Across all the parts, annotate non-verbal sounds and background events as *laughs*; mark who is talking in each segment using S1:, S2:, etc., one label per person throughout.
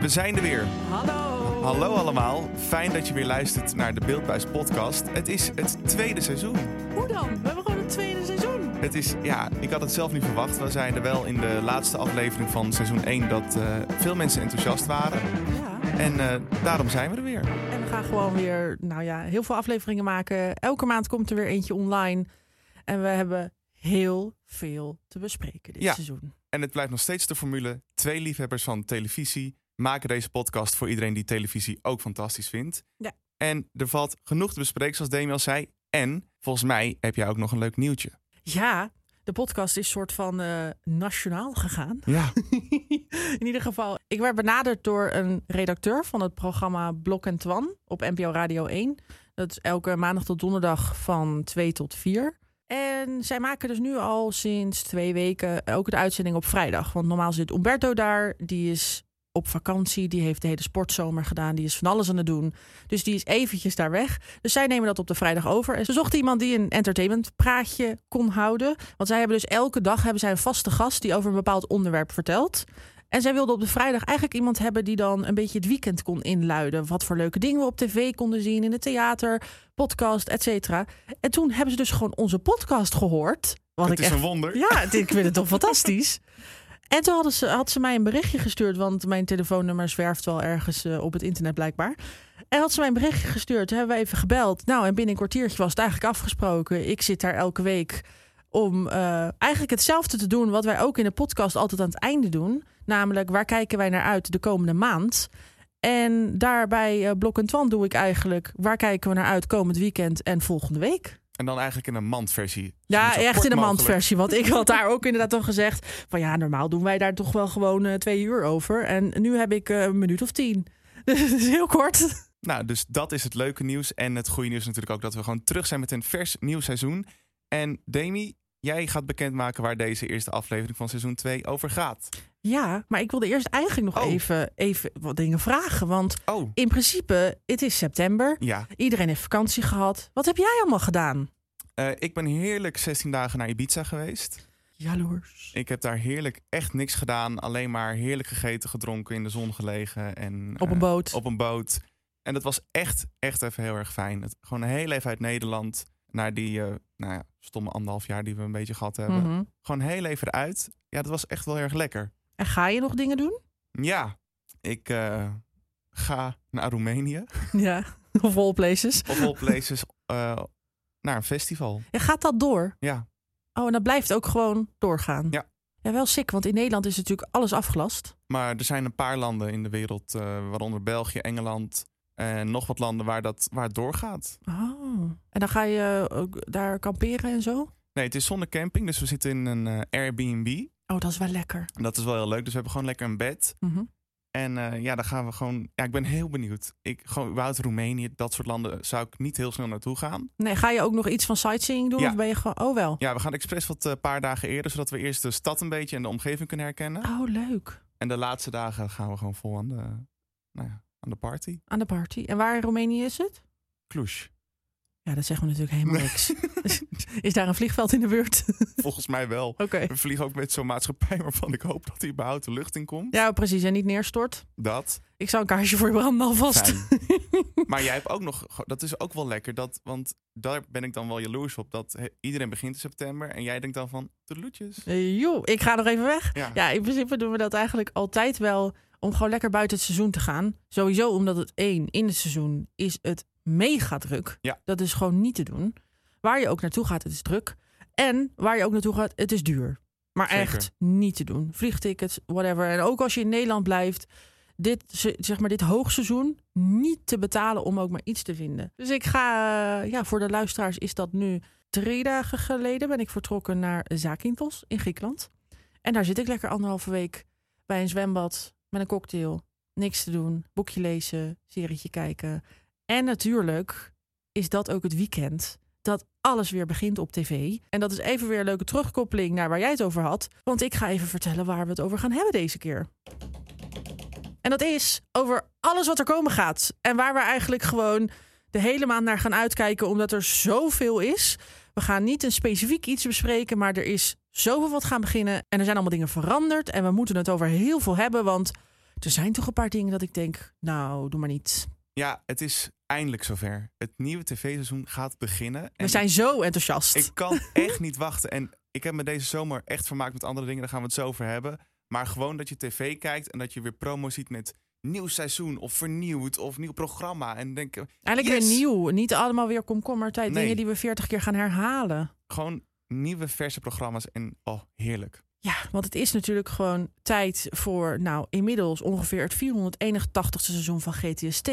S1: We zijn er weer.
S2: Hallo.
S1: Hallo allemaal. Fijn dat je weer luistert naar de Beeldbuis podcast. Het is het tweede seizoen.
S2: Hoe dan? We hebben gewoon het tweede seizoen.
S1: Het is, ja, ik had het zelf niet verwacht. We zeiden wel in de laatste aflevering van seizoen 1 dat eh, veel mensen enthousiast waren.
S2: Ja.
S1: En eh, daarom zijn we er weer.
S2: En we gaan gewoon weer, nou ja, heel veel afleveringen maken. Elke maand komt er weer eentje online. En we hebben heel veel te bespreken dit
S1: Ja.
S2: seizoen.
S1: En het blijft nog steeds de formule. Twee liefhebbers van televisie maken deze podcast voor iedereen die televisie ook fantastisch vindt.
S2: Ja.
S1: En er valt genoeg te bespreken, zoals Demi al zei. En volgens mij heb jij ook nog een leuk nieuwtje.
S2: Ja, de podcast is soort van eh, nationaal gegaan.
S1: *laughs* Ja.
S2: *laughs* In ieder geval, ik werd benaderd door een redacteur van het programma Blok en Twan op NPO Radio 1. Dat is elke maandag tot donderdag van 2 tot 4. En zij maken dus nu al sinds twee weken elke de uitzending op vrijdag. Want normaal zit Umberto daar, die is op vakantie, die heeft de hele sportzomer gedaan, die is van alles aan het doen. Dus die is eventjes daar weg. Dus zij nemen dat op de vrijdag over. En ze zochten iemand die een entertainmentpraatje kon houden. Want zij hebben dus elke dag hebben zij een vaste gast die over een bepaald onderwerp vertelt. En zij wilde op de vrijdag eigenlijk iemand hebben die dan een beetje het weekend kon inluiden. Wat voor leuke dingen we op tv konden zien, in het theater, podcast, et cetera. En toen hebben ze dus gewoon onze podcast gehoord. Wat
S1: Het
S2: ik
S1: is
S2: echt
S1: een wonder.
S2: ja, het- ik vind het toch fantastisch. En toen hadden ze, had ze mij een berichtje gestuurd, want mijn telefoonnummer zwerft wel ergens eh, op het internet blijkbaar. En had ze mij een berichtje gestuurd, toen hebben we even gebeld. Nou, en binnen een kwartiertje was het eigenlijk afgesproken. Ik zit daar elke week om eh, eigenlijk hetzelfde te doen wat wij ook in de podcast altijd aan het einde doen. Namelijk, waar kijken wij naar uit de komende maand? En daarbij eh, Blok en Twan doe ik eigenlijk, waar kijken we naar uit komend weekend en volgende week?
S1: En dan eigenlijk in een mandversie. Dus
S2: Ja,
S1: Zo kort
S2: echt in de
S1: mogelijk.
S2: mandversie. Want ik had daar ook inderdaad al gezegd... van ja, normaal doen wij daar toch wel gewoon eh, twee uur over. En nu heb ik eh, een minuut of tien. *laughs* Dus het is heel kort.
S1: Nou, dus dat is het leuke nieuws. En het goede nieuws is natuurlijk ook dat we gewoon terug zijn met een vers nieuw seizoen. En Demi, jij gaat bekendmaken waar deze eerste aflevering van seizoen 2 over gaat.
S2: Ja, maar ik wilde eerst eigenlijk nog
S1: Oh.
S2: even, even wat dingen vragen. Want
S1: Oh,
S2: in principe, het is september.
S1: ja.
S2: Iedereen heeft vakantie gehad. Wat heb jij allemaal gedaan?
S1: Eh, ik ben heerlijk 16 dagen naar Ibiza geweest.
S2: Jaloers.
S1: Ik heb daar heerlijk echt niks gedaan. Alleen maar heerlijk gegeten, gedronken, in de zon gelegen. En,
S2: Op een
S1: eh,
S2: boot.
S1: op een boot. En dat was echt, echt even heel erg fijn. Het, gewoon heel even uit Nederland naar die eh, nou ja, stomme anderhalf jaar die we een beetje gehad hebben.
S2: Mhm.
S1: Gewoon heel even uit. Ja, dat was echt wel erg lekker.
S2: En ga je nog dingen doen?
S1: Ja, ik eh, ga naar Roemenië.
S2: *laughs* Ja, *laughs* of all places.
S1: Of all places eh, naar een festival.
S2: En gaat dat door?
S1: Ja,
S2: Oh, en dat blijft ook gewoon doorgaan?
S1: Ja.
S2: Ja, wel sick, want in Nederland is natuurlijk alles afgelast.
S1: maar er zijn een paar landen in de wereld, eh, waaronder België, Engeland en nog wat landen waar, dat, waar het doorgaat.
S2: Oh. En dan ga je eh, ook daar kamperen en zo?
S1: Nee, het is zonder camping, dus we zitten in een eh, Airbnb.
S2: Oh, dat is wel lekker.
S1: En dat is wel heel leuk. Dus we hebben gewoon lekker een bed.
S2: Mhm.
S1: En eh, ja, daar gaan we gewoon. Ja, ik ben heel benieuwd. Ik gewoon überhaupt Roemenië, dat soort landen zou ik niet heel snel naartoe gaan.
S2: Nee, ga je ook nog iets van sightseeing doen?
S1: Ja.
S2: Of ben je gewoon... Oh, wel.
S1: Ja, we gaan expres wat een paar dagen eerder, zodat we eerst de stad een beetje en de omgeving kunnen herkennen.
S2: Oh, leuk.
S1: En de laatste dagen gaan we gewoon vol aan de, nou ja, aan de party.
S2: Aan de party. En waar in Roemenië is het?
S1: Kloes. *laughs*
S2: Ja, dat zeggen we natuurlijk helemaal niks. *laughs* is daar een vliegveld in de buurt?
S1: Volgens mij wel.
S2: *laughs* Oké.
S1: We vliegen ook met zo'n maatschappij waarvan ik hoop dat hij überhaupt de lucht in komt.
S2: Ja, precies. En niet neerstort.
S1: Dat.
S2: Ik zou een kaarsje voor je branden alvast.
S1: Fijn. Maar jij hebt ook nog, dat is ook wel lekker, dat, want daar ben ik dan wel jaloers op. Dat he- iedereen begint in september en jij denkt dan van, de loetjes.
S2: *laughs* Eh, Joh, ik ga nog even weg.
S1: Ja.
S2: Ja, in principe doen we dat eigenlijk altijd wel om gewoon lekker buiten het seizoen te gaan. Sowieso omdat het één, in het seizoen is het mega druk.
S1: Ja.
S2: Dat is gewoon niet te doen. Waar je ook naartoe gaat, het is druk. En waar je ook naartoe gaat, het is duur. Maar
S1: Zeker.
S2: echt niet te doen. Vliegtickets, whatever. En ook als je in Nederland blijft, dit, se- zeg maar, dit hoogseizoen niet te betalen om ook maar iets te vinden. Dus ik ga, eh, ja, voor de luisteraars is dat nu drie dagen geleden ben ik vertrokken naar Zakynthos in Griekenland. En daar zit ik lekker anderhalve week bij een zwembad met een cocktail. Niks te doen, boekje lezen, serietje kijken. En natuurlijk is dat ook het weekend dat alles weer begint op tv. En dat is even weer een leuke terugkoppeling naar waar jij het over had. Want ik ga even vertellen waar we het over gaan hebben deze keer. En dat is over alles wat er komen gaat. En waar we eigenlijk gewoon de hele maand naar gaan uitkijken, omdat er zoveel is. We gaan niet een specifiek iets bespreken, maar er is zoveel wat gaan beginnen. En er zijn allemaal dingen veranderd. En we moeten het over heel veel hebben, want er zijn toch een paar dingen dat ik denk, nou, doe maar niet.
S1: Ja, het is eindelijk zover. Het nieuwe tv-seizoen gaat beginnen. En
S2: We zijn zo enthousiast.
S1: Ik
S2: *laughs*
S1: kan echt niet wachten. En ik heb me deze zomer echt vermaakt met andere dingen. Daar gaan we het zo over hebben. Maar gewoon dat je tv kijkt en dat je weer promo ziet met nieuw seizoen of vernieuwd of nieuw programma. En denk
S2: Eigenlijk
S1: Yes!
S2: weer nieuw. Niet allemaal weer komkommertijd.
S1: Nee.
S2: Dingen die we 40 keer gaan herhalen.
S1: gewoon nieuwe verse programma's en oh, heerlijk.
S2: Ja, want het is natuurlijk gewoon tijd voor, nou, inmiddels ongeveer het 481ste seizoen van GTST.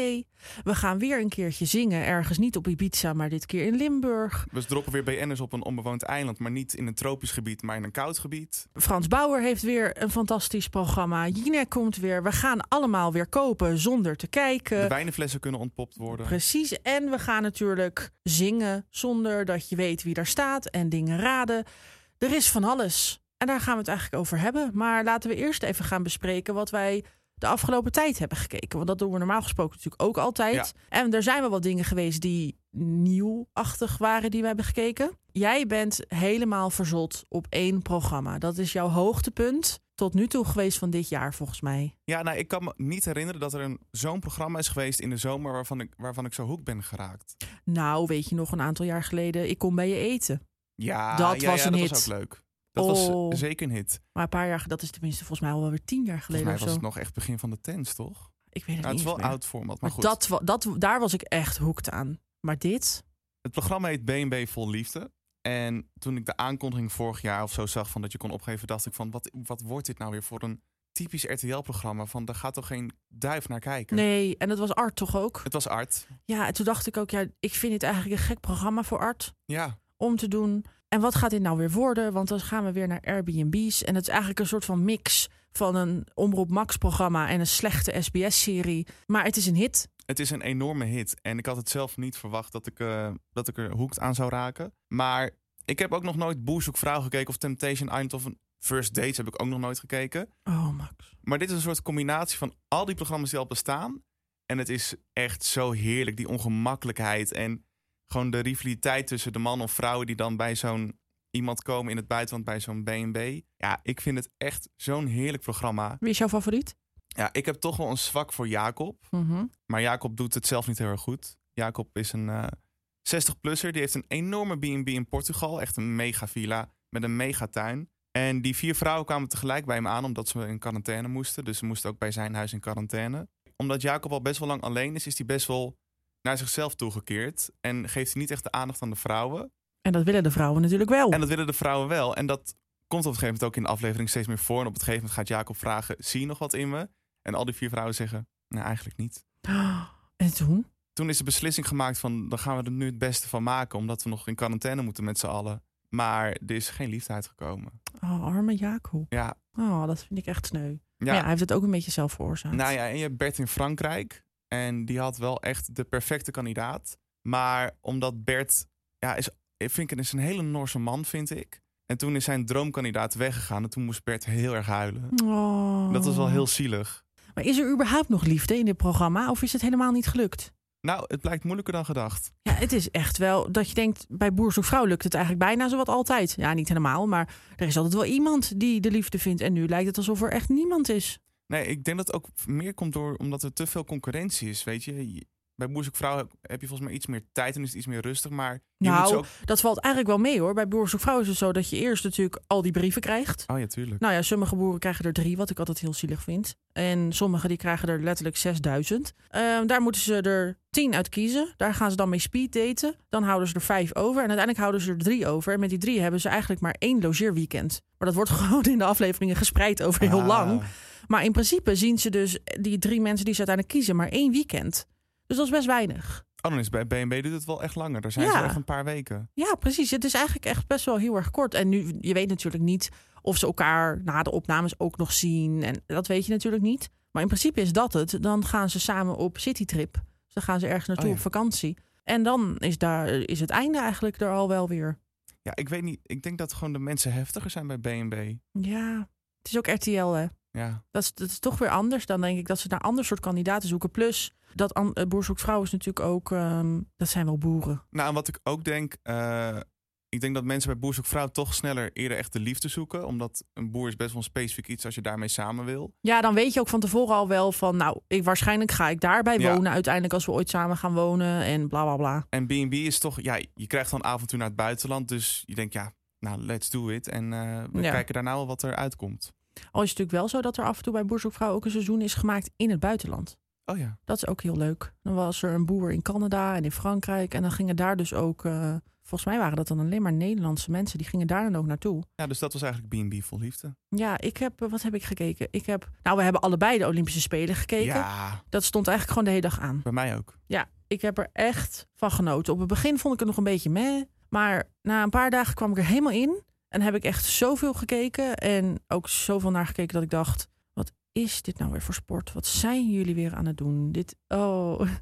S2: We gaan weer een keertje zingen, ergens niet op Ibiza, maar dit keer in Limburg.
S1: We droppen weer BN'ers op een onbewoond eiland, maar niet in een tropisch gebied, maar in een koud gebied.
S2: Frans Bauer heeft weer een fantastisch programma. Jinek komt weer. We gaan allemaal weer kopen zonder te
S1: De
S2: kijken.
S1: wijnflessen kunnen ontpopt worden.
S2: Precies. En we gaan natuurlijk zingen zonder dat je weet wie daar staat en dingen raden. Er is van alles. En daar gaan we het eigenlijk over hebben. Maar laten we eerst even gaan bespreken wat wij de afgelopen tijd hebben gekeken. Want dat doen we normaal gesproken natuurlijk ook altijd. En er zijn wel wat dingen geweest die nieuwachtig waren die we hebben gekeken. Jij bent helemaal verzot op één programma. Dat is jouw hoogtepunt tot nu toe geweest van dit jaar volgens mij.
S1: Ja, nou, ik kan me niet herinneren dat er een- zo'n programma is geweest in de zomer waarvan ik, waarvan ik zo hoek ben geraakt.
S2: Nou, weet je nog een aantal jaar geleden, ik kom bij je eten.
S1: Ja,
S2: Dat
S1: ja,
S2: was
S1: ja,
S2: een
S1: dat
S2: hit.
S1: was ook leuk. Dat
S2: Oh.
S1: was zeker een hit.
S2: Maar een paar jaar, dat is tenminste volgens mij alweer tien jaar
S1: Volgens
S2: geleden
S1: mij
S2: of
S1: was
S2: zo.
S1: het nog echt begin van de tens, toch?
S2: Ik weet
S1: Nou,
S2: het
S1: het is
S2: niet. eens
S1: wel
S2: meer.
S1: oud format, maar
S2: Maar
S1: goed.
S2: dat, wa- dat, daar was ik echt hoekt aan. Maar dit?
S1: Het programma heet BNB Vol Liefde. En toen ik de aankondiging vorig jaar of zo zag van dat je kon opgeven, dacht ik van wat, wat wordt dit nou weer voor een typisch RTL-programma? Van daar gaat toch geen duif naar kijken?
S2: Nee, en dat was Art toch ook?
S1: Het was Art.
S2: Ja, en toen dacht ik ook, ja, ik vind dit eigenlijk een gek programma voor Art
S1: Ja,
S2: om te doen. En wat gaat dit nou weer worden? Want dan gaan we weer naar Airbnb's. En het is eigenlijk een soort van mix van een Omroep Max programma en een slechte SBS-serie. Maar het is een hit.
S1: het is een enorme hit. En ik had het zelf niet verwacht dat ik, eh, dat ik er hoekt aan zou raken. Maar ik heb ook nog nooit Boer Zoekt Vrouw gekeken of Temptation Island of een First Dates heb ik ook nog nooit gekeken.
S2: Oh, Max.
S1: Maar dit is een soort combinatie van al die programma's die al bestaan. En het is echt zo heerlijk, die ongemakkelijkheid. En gewoon de rivaliteit tussen de man of vrouw die dan bij zo'n iemand komen in het buitenland bij zo'n BNB. Ja, ik vind het echt zo'n heerlijk programma.
S2: Wie is jouw favoriet?
S1: Ja, ik heb toch wel een zwak voor Jacob.
S2: Mhm.
S1: Maar Jacob doet het zelf niet heel erg goed. Jacob is een eh, 60-plusser. Die heeft een enorme B&B in Portugal. Echt een mega villa met een mega tuin. En die vier vrouwen kwamen tegelijk bij hem aan omdat ze in quarantaine moesten. Dus ze moesten ook bij zijn huis in quarantaine. Omdat Jacob al best wel lang alleen is, is hij best wel naar zichzelf toegekeerd. En geeft hij niet echt de aandacht aan de vrouwen.
S2: En dat willen de vrouwen natuurlijk wel.
S1: En dat willen de vrouwen wel. En dat komt op een gegeven moment ook in de aflevering steeds meer voor. En op een gegeven moment gaat Jacob vragen, zie je nog wat in me? En al die vier vrouwen zeggen, nou eigenlijk niet
S2: *gasps* En toen?
S1: toen is de beslissing gemaakt van... dan gaan we er nu het beste van maken... omdat we nog in quarantaine moeten met z'n allen. Maar er is geen liefde uitgekomen.
S2: Oh, arme Jacob.
S1: Ja,
S2: Oh, dat vind ik echt sneu.
S1: ja.
S2: Ja. hij heeft het ook een beetje zelf veroorzaakt.
S1: Nou ja, en je hebt Bert in Frankrijk. En die had wel echt de perfecte kandidaat. Maar omdat Bert... Ja, is, ik vind het is een hele Noorse man, vind ik. En toen is zijn droomkandidaat weggegaan. En toen moest Bert heel erg huilen.
S2: Oh.
S1: Dat was wel heel zielig.
S2: Maar is er überhaupt nog liefde in dit programma? Of is het helemaal niet gelukt?
S1: Nou, het blijkt moeilijker dan gedacht.
S2: Ja, het is echt wel dat je denkt, bij Boer zoekt Vrouw lukt het eigenlijk bijna zowat altijd. Ja, niet helemaal, maar er is altijd wel iemand die de liefde vindt. En nu lijkt het alsof er echt niemand is.
S1: Nee, ik denk dat het ook meer komt door omdat er te veel concurrentie is, weet je. Je- Bij Boer zoekt Vrouw heb- heb je volgens mij iets meer tijd en is het iets meer rustig, maar je
S2: Nou.
S1: moet ze ook...
S2: Dat valt eigenlijk wel mee hoor. Bij Boer zoekt Vrouw is het zo dat je eerst natuurlijk al die brieven krijgt.
S1: Oh ja, tuurlijk.
S2: Nou ja, sommige boeren krijgen er drie, wat ik altijd heel zielig vind. En sommige die krijgen er letterlijk 6000. Ehm, daar moeten ze er tien uit kiezen. Daar gaan ze dan mee speed daten. Dan houden ze er vijf over. En uiteindelijk houden ze er drie over. En met die drie hebben ze eigenlijk maar één logeerweekend. Maar dat wordt *laughs* gewoon in de afleveringen gespreid over *laughs* heel
S1: Ah,
S2: lang. Maar in principe zien ze dus die drie mensen die ze uiteindelijk kiezen, maar één weekend. Dus dat is best weinig.
S1: Oh, dan is bij BNB doet het wel echt langer. Daar zijn
S2: Ja.
S1: ze echt een paar weken.
S2: Ja, precies. Het is eigenlijk echt best wel heel erg kort. En nu, je weet natuurlijk niet of ze elkaar na de opnames ook nog zien. En dat weet je natuurlijk niet. Maar in principe is dat het. Dan gaan ze samen op citytrip. Dus dan gaan ze ergens naartoe
S1: Oh ja.
S2: op vakantie. En dan is, daar, is het einde eigenlijk er al wel weer.
S1: Ja, ik weet niet. Ik denk dat gewoon de mensen heftiger zijn bij BNB.
S2: Ja, het is ook RTL hè.
S1: Ja.
S2: Dat is, dat is toch weer anders dan denk ik dat ze naar ander soort kandidaten zoeken. Plus dat an, eh, Boer zoekt vrouw is natuurlijk ook, ehm, dat zijn wel boeren.
S1: Nou, en wat ik ook denk, eh, Ik denk dat mensen bij boer vrouw toch sneller eerder echt de liefde zoeken. Omdat een boer is best wel een specifiek iets als je daarmee samen wil.
S2: Ja, dan weet je ook van tevoren al wel van, nou, ik, waarschijnlijk ga ik daarbij
S1: Ja.
S2: wonen uiteindelijk als we ooit samen gaan wonen en bla bla bla.
S1: En B&B is toch, ja, je krijgt dan avontuur naar het buitenland. Dus je denkt, ja, nou, let's do it. En eh, we
S2: Ja.
S1: kijken daarna wel wat er uitkomt.
S2: Al is het natuurlijk wel zo dat er af en toe bij Boerzoekvrouw ook een seizoen is gemaakt in het buitenland.
S1: Oh ja.
S2: Dat is ook heel leuk. Dan was er een boer in Canada en in Frankrijk. En dan gingen daar dus ook. eh, volgens mij waren dat dan alleen maar Nederlandse mensen. Die gingen daar dan ook naartoe.
S1: Ja, dus dat was eigenlijk B&B vol liefde.
S2: Ja, ik heb. eh, Wat heb ik gekeken? Ik heb. Nou, we hebben allebei de Olympische Spelen gekeken.
S1: Ja,
S2: Dat stond eigenlijk gewoon de hele dag aan.
S1: bij mij ook.
S2: Ja, ik heb er echt van genoten. Op het begin vond ik het nog een beetje meh. Maar na een paar dagen kwam ik er helemaal in. En heb ik echt zoveel gekeken. En ook zoveel naar gekeken dat ik dacht... Wat is dit nou weer voor sport? Wat zijn jullie weer aan het doen? Dit, oh... *laughs*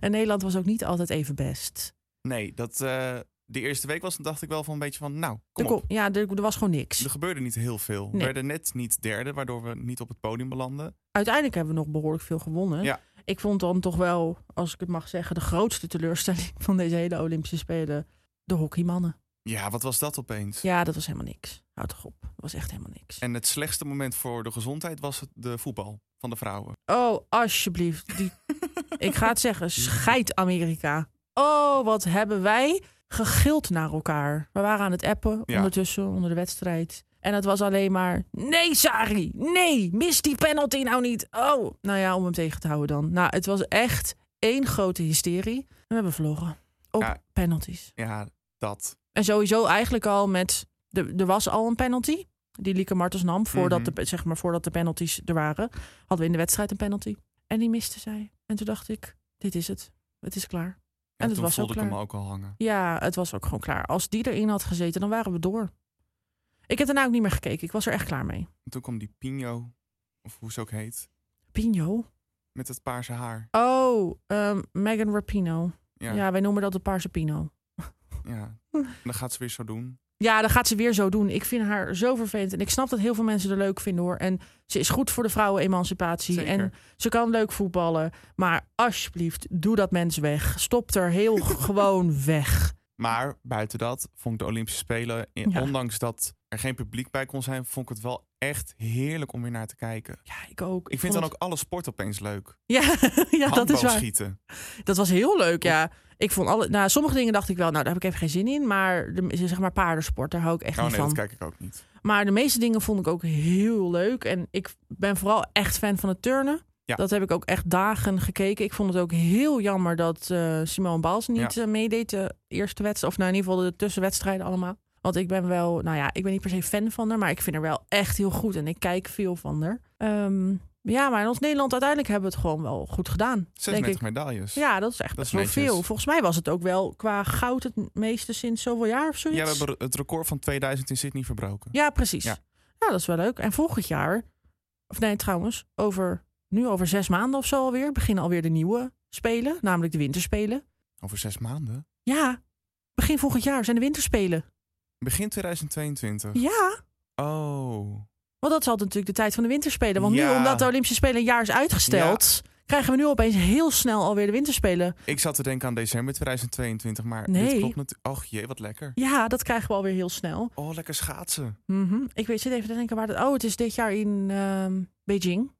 S2: En Nederland was ook niet altijd even best.
S1: Nee, dat, eh, de eerste week was, dacht ik wel van een beetje van, nou,
S2: Er
S1: kom
S2: kon-
S1: op.
S2: ja, er, er was gewoon niks.
S1: Er gebeurde niet heel veel. We
S2: Nee.
S1: werden net niet derde, waardoor we niet op het podium belanden.
S2: Uiteindelijk hebben we nog behoorlijk veel gewonnen.
S1: Ja.
S2: Ik vond dan toch wel, als ik het mag zeggen... de grootste teleurstelling *laughs* van deze hele Olympische Spelen... de hockeymannen.
S1: Ja, wat was dat opeens?
S2: Ja, dat was helemaal niks. Houd toch op. Dat was echt helemaal niks.
S1: En het slechtste moment voor de gezondheid was het de voetbal van de vrouwen.
S2: Oh, alsjeblieft. Die... *laughs* ik ga het zeggen, scheid Amerika. Oh, wat hebben wij gegild naar elkaar. We waren aan het appen
S1: Ja.
S2: ondertussen, onder de wedstrijd. En het was alleen maar, nee Sari, nee, mis die penalty nou niet. Oh, nou ja, om hem tegen te houden dan. Nou, het was echt één grote hysterie. En we hebben verloren. Op
S1: Ja.
S2: penalties.
S1: Ja, dat.
S2: En sowieso eigenlijk al met, de, er was al een penalty. Die Lieke Martens nam, voordat,
S1: Mhm.
S2: de, zeg maar, voordat de penalties er waren. Hadden we in de wedstrijd een penalty. En die miste zij. En toen dacht ik, dit is het. Het is klaar.
S1: En,
S2: En het
S1: toen
S2: was
S1: voelde
S2: ook
S1: ik hem
S2: klaar.
S1: ook al hangen.
S2: Ja, het was ook gewoon klaar. Als die erin had gezeten, dan waren we door. Ik heb daarna ook niet meer gekeken. Ik was er echt klaar mee.
S1: En toen kwam die Pino, of hoe ze ook heet,
S2: Pino?
S1: met het paarse haar.
S2: Oh, ehm, Megan Rapino.
S1: Ja,
S2: Ja.
S1: ja.
S2: wij noemen dat de paarse Pino.
S1: En dan gaat ze weer zo doen.
S2: Ja, dan gaat ze weer zo doen. Ik vind haar zo vervelend. En ik snap dat heel veel mensen haar leuk vinden hoor. En ze is goed voor de vrouwenemancipatie.
S1: Zeker.
S2: En ze kan leuk voetballen. Maar alsjeblieft, doe dat mens weg. Stop er
S1: *laughs*
S2: heel gewoon weg.
S1: Maar buiten dat vond ik de Olympische Spelen, in-
S2: Ja.
S1: ondanks dat er geen publiek bij kon zijn, vond ik het wel echt heerlijk om weer naar te kijken.
S2: Ja, ik ook.
S1: Ik vind dan
S2: vond
S1: ook alle sport opeens leuk.
S2: het- Ja, ja *laughs* dat is waar.
S1: Handbalschieten.
S2: Dat was heel leuk, ja. Ik vond alle... Nou, sommige dingen dacht ik wel, nou, daar heb ik even geen zin in. Maar de, zeg maar paardensport, daar hou ik echt
S1: Oh
S2: niet
S1: nee, dat
S2: van.
S1: kijk ik ook niet.
S2: Maar de meeste dingen vond ik ook heel leuk. En ik ben vooral echt fan van het turnen.
S1: Ja.
S2: Dat heb ik ook echt dagen gekeken. Ik vond het ook heel jammer dat eh Simone Baals niet eh, meedeed de eerste wedstrijd. Of nou, in ieder geval de tussenwedstrijden allemaal. Want ik ben wel, nou ja, ik ben niet per se fan van haar. Maar ik vind haar wel echt heel goed. En ik kijk veel van haar. Ehm, ja, maar in ons Nederland uiteindelijk hebben we het gewoon wel goed gedaan. Denk
S1: 36
S2: ik.
S1: medailles.
S2: Ja, dat is echt
S1: Dat is
S2: best wel
S1: netjes.
S2: veel. Volgens mij was het ook wel qua goud het meeste sinds zoveel jaar of zoiets.
S1: Ja, we hebben het record van 2000 in Sydney verbroken.
S2: Ja, precies.
S1: Ja.
S2: Ja. dat is wel leuk. En volgend jaar, of nee, trouwens, over, nu over zes maanden of zo alweer, beginnen alweer de nieuwe spelen, namelijk de winterspelen.
S1: Over zes maanden.
S2: Ja, begin volgend jaar zijn de winterspelen.
S1: Begin 2022.
S2: Ja,
S1: Oh.
S2: want dat is altijd natuurlijk de tijd van de winterspelen. Want
S1: Ja.
S2: nu, omdat de Olympische Spelen een jaar is uitgesteld, krijgen we nu opeens heel snel alweer de winterspelen.
S1: Ik zat te denken aan december 2022, maar dit
S2: Nee.
S1: klopt natuurlijk. Och jee, wat lekker.
S2: Ja, dat krijgen we alweer heel snel.
S1: Oh, lekker schaatsen.
S2: Mhm. Ik weet, zit even te denken waar dat... Oh, het is dit jaar in ehm, Beijing.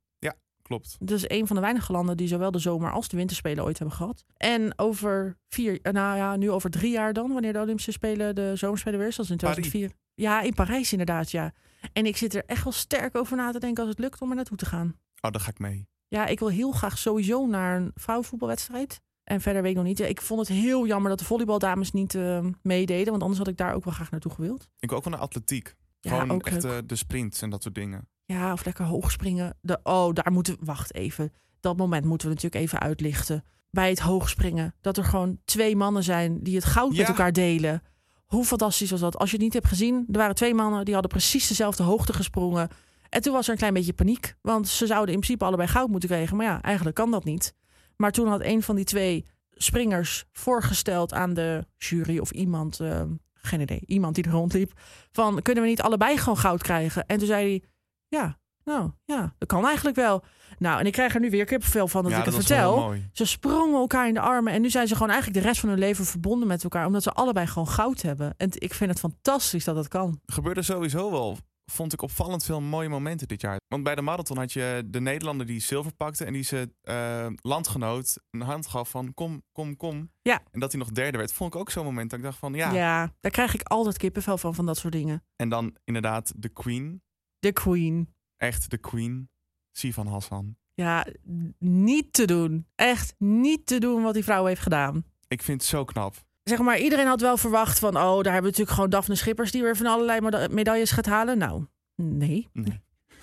S1: Klopt.
S2: Dat is een van de weinige landen die zowel de zomer als de winterspelen ooit hebben gehad. En over vier, eh, nou ja, nu over drie jaar dan, wanneer de Olympische Spelen de zomerspelen weer is, dat is in
S1: Parijs.
S2: 2004. Ja, in Parijs inderdaad, ja. En ik zit er echt wel sterk over na te denken als het lukt om er naartoe te gaan.
S1: Oh, daar ga ik mee.
S2: Ja, ik wil heel graag sowieso naar een vrouwenvoetbalwedstrijd. En verder weet ik nog niet. Ja, Ik vond het heel jammer dat de volleybaldames niet eh, meededen, want anders had ik daar ook wel graag naartoe gewild.
S1: Ik wil ook wel naar atletiek.
S2: Ja,
S1: Gewoon
S2: ook
S1: echt
S2: leuk.
S1: eh, de sprints en dat soort dingen.
S2: Ja, of lekker hoog springen. De, oh, daar moeten we. Wacht even. Dat moment moeten we natuurlijk even uitlichten. Bij het hoogspringen. Dat er gewoon twee mannen zijn die het goud
S1: Ja.
S2: met elkaar delen. Hoe fantastisch was dat? Als je het niet hebt gezien, er waren twee mannen die hadden precies dezelfde hoogte gesprongen. En toen was er een klein beetje paniek. Want ze zouden in principe allebei goud moeten krijgen. Maar ja, eigenlijk kan dat niet. Maar toen had een van die twee springers voorgesteld aan de jury of iemand, eh, geen idee, iemand die er rondliep. Van kunnen we niet allebei gewoon goud krijgen? En toen zei hij, ja, Nou ja, dat kan eigenlijk wel. Nou, en ik krijg er nu weer kippenvel van dat ik het vertel.
S1: wel mooi.
S2: Ze sprongen elkaar in de armen. En nu zijn ze gewoon eigenlijk de rest van hun leven verbonden met elkaar. Omdat ze allebei gewoon goud hebben. En t- ik vind het fantastisch dat dat kan.
S1: Er gebeurde sowieso wel, vond ik opvallend veel mooie momenten dit jaar. Want bij de marathon had je de Nederlander die zilver pakte en die zijn eh, landgenoot een hand gaf van kom, kom, kom.
S2: Ja.
S1: En dat hij nog derde werd, vond ik ook zo'n moment dat ik dacht van ja.
S2: daar krijg ik altijd kippenvel van, van dat soort dingen.
S1: En dan inderdaad de queen,
S2: De Queen.
S1: echt de queen, Sivan Hassan.
S2: Ja, n- niet te doen. Echt niet te doen wat die vrouw heeft gedaan.
S1: Ik vind het zo knap.
S2: Zeg maar, iedereen had wel verwacht van... oh, daar hebben we natuurlijk gewoon Daphne Schippers... die weer van allerlei meda- medailles gaat halen. Nou, nee.
S1: Nee.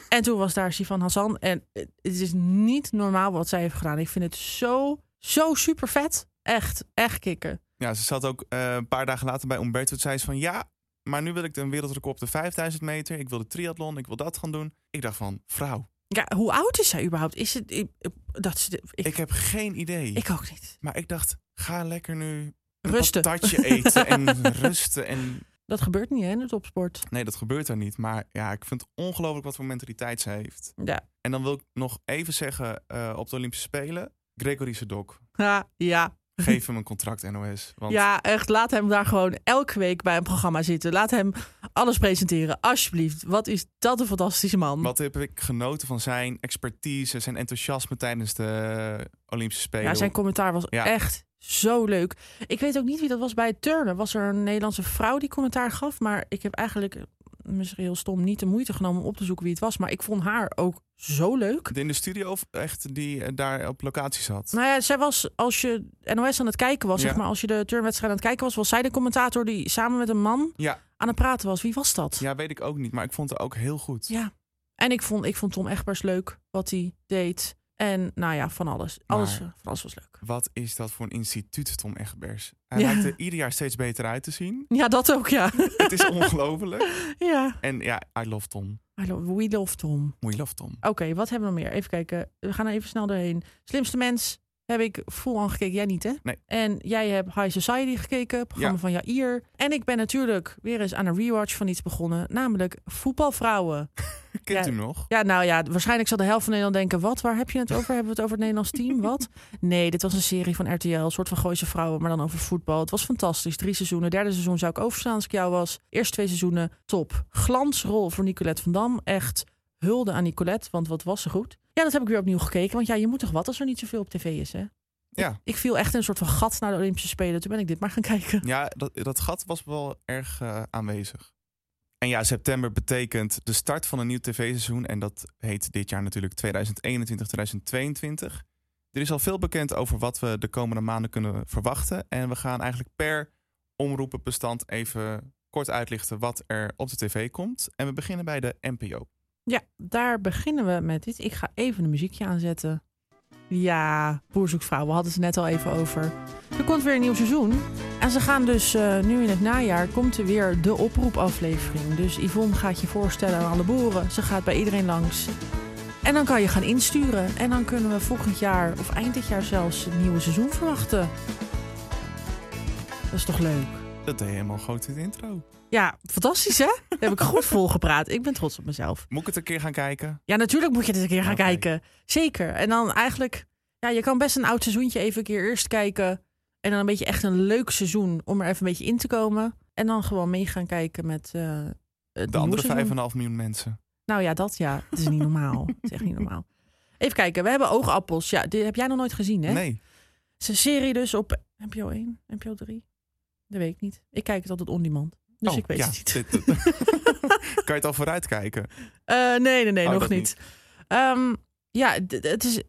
S2: En toen was daar Sivan Hassan. En het is niet normaal wat zij heeft gedaan. Ik vind het zo, zo super vet. Echt, echt kicken.
S1: Ja, ze zat ook eh, een paar dagen later bij Umberto. Toen zei ze van ja, maar nu wil ik een wereldrecord op de 5000 meter. Ik wil de triathlon, ik wil dat gaan doen. Ik dacht van vrouw,
S2: Ja, hoe oud is zij überhaupt? Is het... Ik, ik- dat ze, de- ik,
S1: ik
S2: ik,
S1: heb geen idee.
S2: ook niet.
S1: Maar ik dacht, ga lekker nu een
S2: Rusten.
S1: patatje eten
S2: *laughs*
S1: en rusten. En...
S2: Dat gebeurt niet hè, in de topsport.
S1: Nee, dat gebeurt daar niet. Maar ja, ik vind het ongelooflijk wat voor mentaliteit ze heeft.
S2: Ja.
S1: En dan wil ik nog even zeggen eh, op de Olympische Spelen. Gregory Sedok,
S2: Ja, ja.
S1: geef hem een contract NOS. Want
S2: Mhm. ja, echt. Laat hem daar gewoon elke week bij een programma zitten. Laat hem alles presenteren. Alsjeblieft. Wat is dat een fantastische man.
S1: wat heb ik genoten van zijn expertise, zijn enthousiasme tijdens de Olympische Spelen.
S2: Ja, zijn commentaar was
S1: Ja.
S2: echt zo leuk. Ik weet ook niet wie dat was bij het turnen. Was er een Nederlandse vrouw die commentaar gaf? Maar ik heb eigenlijk, eh, misschien heel stom, niet de moeite genomen om op te zoeken wie het was. Maar ik vond haar ook zo leuk.
S1: In de studio of echt die eh, daar op locatie zat.
S2: Nou ja, zij was, als je NOS aan het kijken was,
S1: Ja.
S2: zeg maar, als je de turnwedstrijd aan het kijken was, was zij de commentator die samen met een man
S1: Ja.
S2: aan het praten was. Wie was dat?
S1: Ja, weet ik ook niet, maar ik vond het ook heel goed.
S2: Ja. En ik vond, ik vond Tom Egbers leuk, wat hij deed. En nou ja, van alles. Alles,
S1: Maar-
S2: van alles was leuk.
S1: Wat is dat voor een instituut, Tom Egbers? Hij
S2: Ja.
S1: lijkt er ieder jaar steeds beter uit te zien.
S2: Ja, dat ook, ja.
S1: Het
S2: *laughs*
S1: is ongelooflijk.
S2: ja.
S1: En ja, I love Tom.
S2: I love- we love Tom.
S1: We love Tom.
S2: Oké, wat hebben we nog meer? Even kijken. We gaan er even snel doorheen. Slimste mens heb ik full aan gekeken. Jij niet, hè?
S1: Nee.
S2: En jij hebt High Society gekeken, programma
S1: Ja.
S2: van Jair. En ik ben natuurlijk weer eens aan een rewatch van iets begonnen. Namelijk voetbalvrouwen.
S1: Kent
S2: Ja.
S1: u hem nog?
S2: Ja, nou ja, waarschijnlijk zal de helft van Nederland denken... wat, waar heb je het over? *laughs* Hebben we het over het Nederlands team? Wat? Nee, dit was een serie van RTL, een soort van Gooise Vrouwen... maar dan over voetbal. Het was fantastisch. Drie seizoenen. Derde seizoen zou ik overstaan als ik jou was. Eerste twee seizoenen, top. Glansrol voor Nicolette van Dam. Echt hulde aan Nicolette, want wat was ze goed. Ja, dat heb ik weer opnieuw gekeken. Want ja, je moet toch wat als er niet zoveel op tv is, hè?
S1: Ja,
S2: Ik viel echt in een soort van gat naar de Olympische Spelen. Toen ben ik dit maar gaan *laughs* kijken.
S1: ja dat, dat gat was wel erg eh, aanwezig. En ja, september betekent de start van een nieuw tv-seizoen. En dat heet dit jaar natuurlijk 2021-2022. Er is al veel bekend over wat we de komende maanden kunnen verwachten. En we gaan eigenlijk per omroepenbestand even kort uitlichten wat er op de tv komt. En we beginnen bij de NPO.
S2: Ja, daar beginnen we met dit. Ik ga even een muziekje aanzetten. Ja, boerzoeksvrouw, we hadden het net al even over. Er komt weer een nieuw seizoen. En ze gaan dus eh, nu in het najaar, komt er weer de oproepaflevering. Dus Yvonne gaat je voorstellen aan alle boeren. Ze gaat bij iedereen langs. En dan kan je gaan insturen. En dan kunnen we volgend jaar, of eind dit jaar zelfs, het nieuwe seizoen verwachten. Dat is toch leuk?
S1: Dat deed helemaal goed in de intro.
S2: Ja, fantastisch hè? Daar heb ik goed vol gepraat. Ik ben trots op mezelf.
S1: Moet ik het een keer gaan kijken?
S2: Ja, natuurlijk moet je dit een keer gaan
S1: Oké.
S2: kijken. Zeker. En dan eigenlijk, ja, je kan best een oud seizoentje even een keer eerst kijken. En dan een beetje echt een leuk seizoen om er even een beetje in te komen. En dan gewoon mee gaan kijken met eh, het
S1: De
S2: nieuwe
S1: andere 5,5
S2: seizoen.
S1: miljoen mensen.
S2: Nou ja, dat ja. Het is niet normaal. Het is echt niet normaal. Even kijken, we hebben oogappels. Ja, die heb jij nog nooit gezien, hè?
S1: Nee.
S2: Het is een serie dus op NPO 1, NPO 3. Dat weet ik niet. Ik kijk het altijd on demand. Dus
S1: Oh,
S2: ik weet
S1: ja,
S2: het niet.
S1: dit- *laughs* kan je het al vooruit kijken?
S2: Eh, nee, nee, nee,
S1: Oh,
S2: nog
S1: dat
S2: niet.
S1: niet.
S2: Ehm, ja, d- d- het is,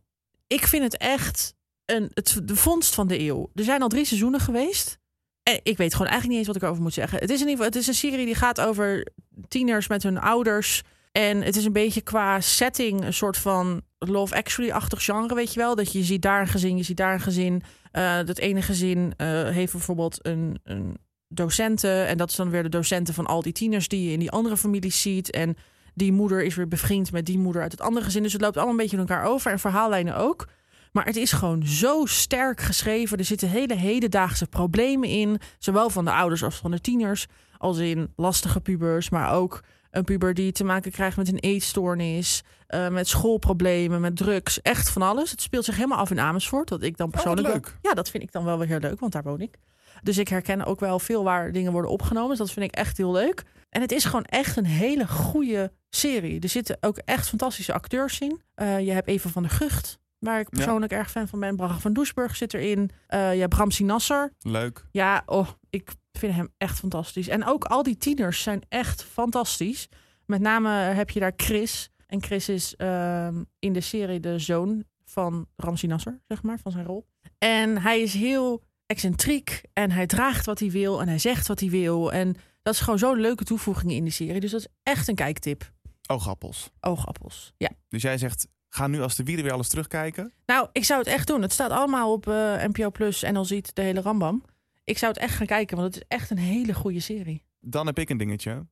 S2: ik vind het echt een, het, de vondst van de eeuw. Er zijn al drie seizoenen geweest. En ik weet gewoon eigenlijk niet eens wat ik erover moet zeggen. Het is, in ieder geval, het is een serie die gaat over tieners met hun ouders. En het is een beetje qua setting een soort van Love Actually-achtig genre, weet je wel. Dat je ziet daar een gezin, je ziet daar een gezin. Eh dat ene gezin eh, heeft bijvoorbeeld een, een docenten. En dat is dan weer de docenten van al die tieners die je in die andere families ziet. En die moeder is weer bevriend met die moeder uit het andere gezin. Dus het loopt allemaal een beetje door elkaar over en verhaallijnen ook. Maar het is gewoon zo sterk geschreven. Er zitten hele hedendaagse problemen in. Zowel van de ouders als van de tieners. Als in lastige pubers, maar ook Een puber die te maken krijgt met een eetstoornis, eh, met schoolproblemen, met drugs. Echt van alles. Het speelt zich helemaal af in Amersfoort. Wat ik dan persoonlijk. wel-
S1: Oh, leuk.
S2: ja, dat vind ik dan wel weer heel leuk, want daar woon ik. Dus ik herken ook wel veel waar dingen worden opgenomen. Dus dat vind ik echt heel leuk. En het is gewoon echt een hele goede serie. Er zitten ook echt fantastische acteurs in. Eh, je hebt Eva van der Gucht, waar ik
S1: Ja.
S2: persoonlijk erg fan van ben. Braga van Doesburg zit erin. Eh, je hebt Ramsi Nasser.
S1: Leuk.
S2: Ja, oh, ik vind hem echt fantastisch. En ook al die tieners zijn echt fantastisch. Met name heb je daar Chris. En Chris is ehm, in de serie de zoon van Ramsi Nasser, zeg maar, van zijn rol. En hij is heel excentriek en hij draagt wat hij wil en hij zegt wat hij wil. En dat is gewoon zo'n leuke toevoeging in de serie. Dus dat is echt een kijktip.
S1: Oogappels.
S2: Oogappels. Ja.
S1: Oh, Dus jij zegt, ga nu als de wielen weer alles terugkijken.
S2: Nou, ik zou het echt doen. Het staat allemaal op eh, NPO Plus en al ziet de hele Rambam. Ik zou het echt gaan kijken, want het is echt een hele goede serie.
S1: Dan heb ik een dingetje.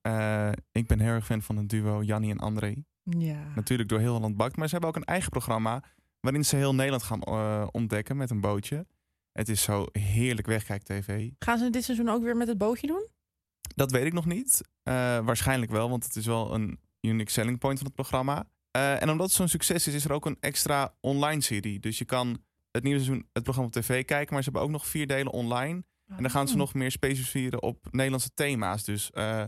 S1: Eh, ik ben heel erg fan van het duo Jannie en André.
S2: Ja.
S1: natuurlijk door heel Holland bakt. Maar ze hebben ook een eigen programma waarin ze heel Nederland gaan eh, ontdekken met een bootje. Het is zo heerlijk wegkijk tv.
S2: Gaan ze dit seizoen ook weer met het bootje doen?
S1: Dat weet ik nog niet. Eh, waarschijnlijk wel, want het is wel een unique selling point van het programma. Eh, en omdat het zo'n succes is, is er ook een extra online serie. Dus je kan het nieuwe seizoen het programma op tv kijken, maar ze hebben ook nog vier delen online. En dan
S2: Oh.
S1: gaan ze nog meer specificeren op Nederlandse thema's. Dus eh,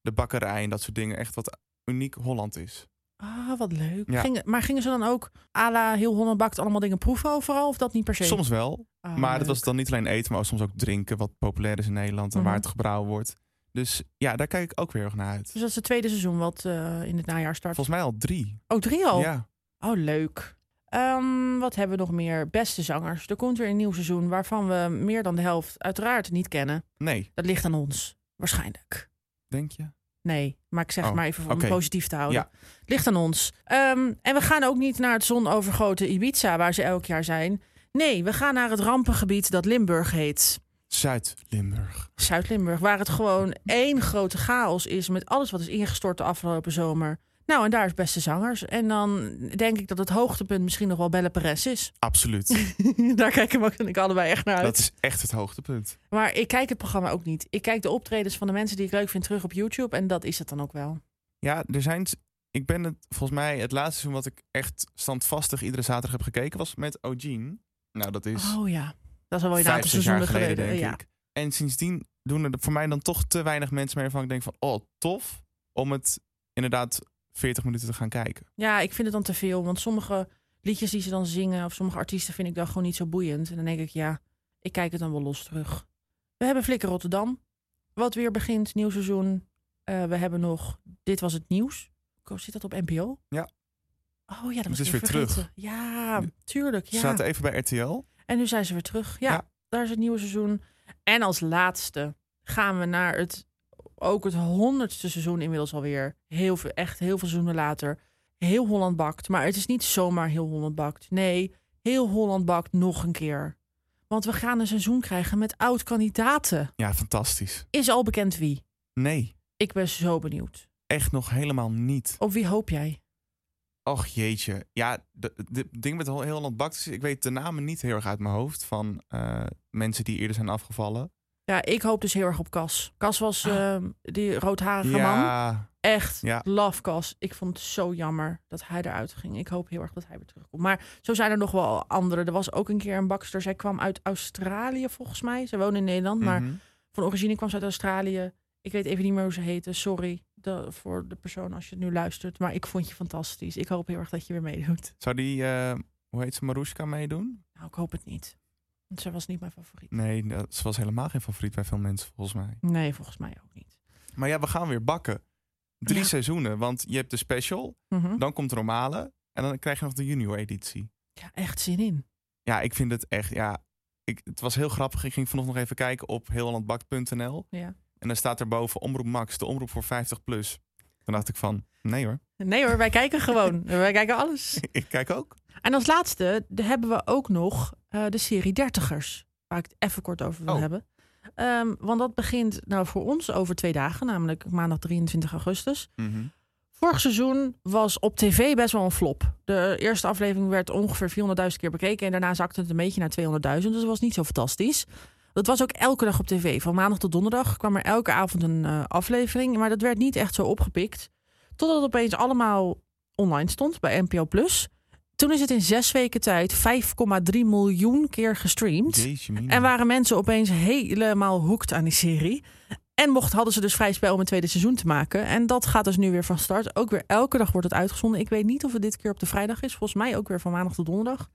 S1: de bakkerij en dat soort dingen. Echt wat uniek Holland is.
S2: Ah, wat leuk.
S1: Ja.
S2: Gingen- maar gingen ze dan ook à la heel Holland bakt allemaal dingen proeven overal? Of dat niet per se?
S1: Soms wel,
S2: Ah,
S1: Maar
S2: leuk.
S1: het was dan niet alleen eten, maar ook soms ook drinken, wat populair is in Nederland en
S2: Mhm.
S1: waar het gebrouwen wordt. Dus ja, daar kijk ik ook weer erg naar uit.
S2: Dus dat is het tweede seizoen wat eh, in het najaar start.
S1: Volgens mij al drie.
S2: Oh, drie al?
S1: Ja.
S2: Oh, leuk. Ehm, wat hebben we nog meer? Beste zangers. Er komt weer een nieuw seizoen waarvan we meer dan de helft uiteraard niet kennen.
S1: Nee,
S2: Dat ligt aan ons, waarschijnlijk.
S1: denk je?
S2: Nee, maar ik zeg
S1: Oh,
S2: maar even om het
S1: oké.
S2: positief te houden. Ligt aan ons. Ehm, en we gaan ook niet naar het zonovergoten Ibiza, waar ze elk jaar zijn. Nee, we gaan naar het rampengebied dat Limburg heet.
S1: Zuid-Limburg.
S2: Zuid-Limburg, waar het gewoon één grote chaos is met alles wat is ingestort de afgelopen zomer. Nou, en daar is beste zangers. En dan denk ik dat het hoogtepunt misschien nog wel Belle Perez is. *laughs*
S1: Absoluut.
S2: daar kijken we ook- ik allebei echt naar uit.
S1: dat is echt het hoogtepunt.
S2: Maar ik kijk het programma ook niet. Ik kijk de optredens van de mensen die ik leuk vind terug op YouTube. En dat is het dan ook wel.
S1: Ja, er zijn. Ik ben het volgens mij het laatste seizoen wat ik echt standvastig iedere zaterdag heb gekeken was met Eugene. Nou, dat is
S2: Oh ja, dat is al wel een
S1: vijf,
S2: aantal
S1: zes jaar
S2: seizoenen
S1: geleden, denk
S2: geleden. ja.
S1: ik. En sindsdien doen er voor mij dan toch te weinig mensen meer van. Ik denk van, oh, tof om het inderdaad 40 minuten te gaan kijken.
S2: ja, ik vind het dan te veel. Want sommige liedjes die ze dan zingen of sommige artiesten vind ik dan gewoon niet zo boeiend. En dan denk ik, ja, ik kijk het dan wel los terug. We hebben Flikker Rotterdam, wat weer begint, nieuw seizoen. Eh, we hebben nog Dit Was Het Nieuws. Ko- Zit dat op NPO?
S1: Ja.
S2: Oh ja, dat
S1: Het
S2: was
S1: is
S2: ik
S1: weer terug.
S2: vergeten. Ja, tuurlijk.
S1: Ze
S2: Ja.
S1: zaten even bij RTL.
S2: En nu zijn ze weer terug. Ja,
S1: Ja.
S2: daar is het nieuwe seizoen. En als laatste gaan we naar het ook het honderdste seizoen inmiddels alweer. Heel veel, echt heel veel seizoenen later. Heel Holland bakt. Maar het is niet zomaar heel Holland bakt. Nee, heel Holland bakt nog een keer. Want we gaan een seizoen krijgen met oud-kandidaten.
S1: Ja, fantastisch.
S2: Is al bekend wie.
S1: Nee,
S2: Ik ben zo benieuwd.
S1: echt nog helemaal niet.
S2: Op wie hoop jij?
S1: Och jeetje. Ja, de- de- het ding met heel heel Holland Bakt is... Ik weet de namen niet heel erg uit mijn hoofd van eh, mensen die eerder zijn afgevallen.
S2: Ja, ik hoop dus heel erg op Cas. Cas was ehm, die roodharige man.
S1: Ja,
S2: Echt,
S1: Ja.
S2: love Cas. Ik vond het zo jammer dat hij eruit ging. Ik hoop heel erg dat hij weer terugkomt. Maar zo zijn er nog wel andere. Er was ook een keer een bakster. Zij kwam uit Australië, volgens mij. Zij woonde in Nederland, maar
S1: mhm.
S2: van origine kwam ze uit Australië. Ik weet even niet meer hoe ze heette. Sorry de- voor de persoon als je het nu luistert. Maar ik vond je fantastisch. Ik hoop heel erg dat je weer meedoet.
S1: Zou die, eh, hoe heet ze, Marushka meedoen?
S2: Nou, ik hoop het niet. Want zij was niet mijn favoriet.
S1: Nee, dat- ze was helemaal geen favoriet bij veel mensen volgens mij.
S2: Nee, volgens mij ook niet.
S1: Maar ja, we gaan weer bakken. Drie
S2: Ja.
S1: seizoenen, want je hebt de special,
S2: Mhm.
S1: dan komt de normale... en dan krijg je nog de junior editie.
S2: Ja, echt zin in.
S1: Ja, ik vind het echt, ja... Ik, het was heel grappig. Ik ging vanochtend nog even kijken op heelhollandbakt.nl.
S2: Ja.
S1: En dan staat er boven Omroep Max, de omroep voor 50 plus. Toen dacht ik van, nee hoor, *laughs*
S2: Nee hoor, wij kijken gewoon. wij kijken alles.
S1: ik kijk ook.
S2: En als laatste de- hebben we ook nog eh, de serie Dertigers. Waar ik het even kort over wil
S1: Oh.
S2: hebben. Ehm, want dat begint nou voor ons over twee dagen, namelijk maandag 23 augustus. Vorig seizoen was op tv best wel een flop. De eerste aflevering werd ongeveer 400.000 keer bekeken. En daarna zakte het een beetje naar 200.000. Dus dat was niet zo fantastisch. Dat was ook elke dag op tv. Van maandag tot donderdag kwam er elke avond een eh, aflevering. Maar dat werd niet echt zo opgepikt. Totdat het opeens allemaal online stond bij NPO+. Plus. Toen is het in zes weken tijd 5,3 miljoen keer gestreamd.
S1: Jeetje, mina.
S2: En waren mensen opeens helemaal hooked aan die serie. En mocht, hadden ze dus vrij spel om een tweede seizoen te maken. En dat gaat dus nu weer van start. Ook weer elke dag wordt het uitgezonden. Ik weet niet of het dit keer op de vrijdag is. Volgens mij ook weer van maandag tot donderdag.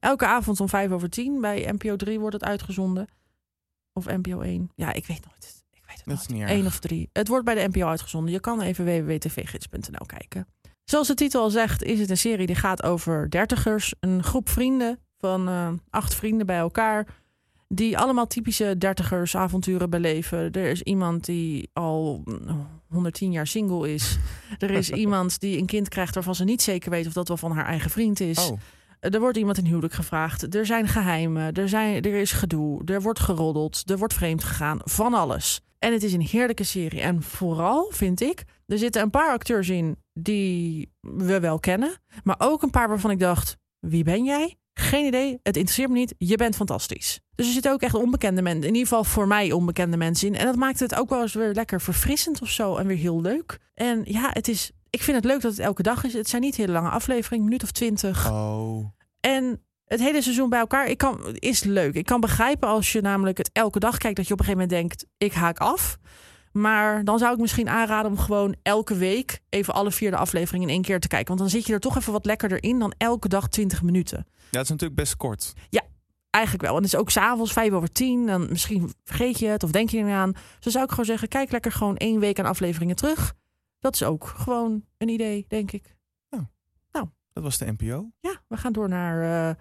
S2: Elke avond om vijf over tien bij NPO 3 wordt het uitgezonden. Of NPO 1. Ja, ik weet nooit. Ik weet het
S1: Dat is niet
S2: nooit.
S1: erg.
S2: Eén of drie. Het wordt bij de NPO uitgezonden. Je kan even www.tvgids.nl kijken. Zoals de titel al zegt, is het een serie die gaat over dertigers. Een groep vrienden van eh, acht vrienden bij elkaar die allemaal typische dertigers avonturen beleven. Er is iemand die al mm, 110 jaar single is. Er is iemand die een kind krijgt waarvan ze niet zeker weet of dat wel van haar eigen vriend is.
S1: Oh,
S2: Er wordt iemand in huwelijk gevraagd. Er zijn geheimen. Er, zijn, er is gedoe. Er wordt geroddeld. Er wordt vreemd gegaan. Van alles. En het is een heerlijke serie. En vooral vind ik, er zitten een paar acteurs in die we wel kennen. Maar ook een paar waarvan ik dacht, wie ben jij? Geen idee. Het interesseert me niet. Je bent fantastisch. Dus er zitten ook echt onbekende mensen, in ieder geval voor mij onbekende mensen in. En dat maakt het ook wel eens weer lekker verfrissend of zo. En weer heel leuk. En ja, het is, ik vind het leuk dat het elke dag is. Het zijn niet hele lange afleveringen, minuut of twintig.
S1: oh.
S2: En het hele seizoen bij elkaar ik kan, is leuk. Ik kan begrijpen als je namelijk het elke dag kijkt, dat je op een gegeven moment denkt: ik haak af. Maar dan zou ik misschien aanraden om gewoon elke week even alle vier de afleveringen in één keer te kijken. Want dan zit je er toch even wat lekkerder in dan elke dag 20 minuten.
S1: Ja, het is natuurlijk best kort.
S2: Eigenlijk wel. En het is ook s'avonds vijf over tien. Dan misschien vergeet je het of denk je er niet aan. Dus dan zou ik gewoon zeggen: kijk lekker gewoon één week aan afleveringen terug. Dat is ook gewoon een idee, denk ik.
S1: Dat was de NPO.
S2: Ja, we gaan door naar.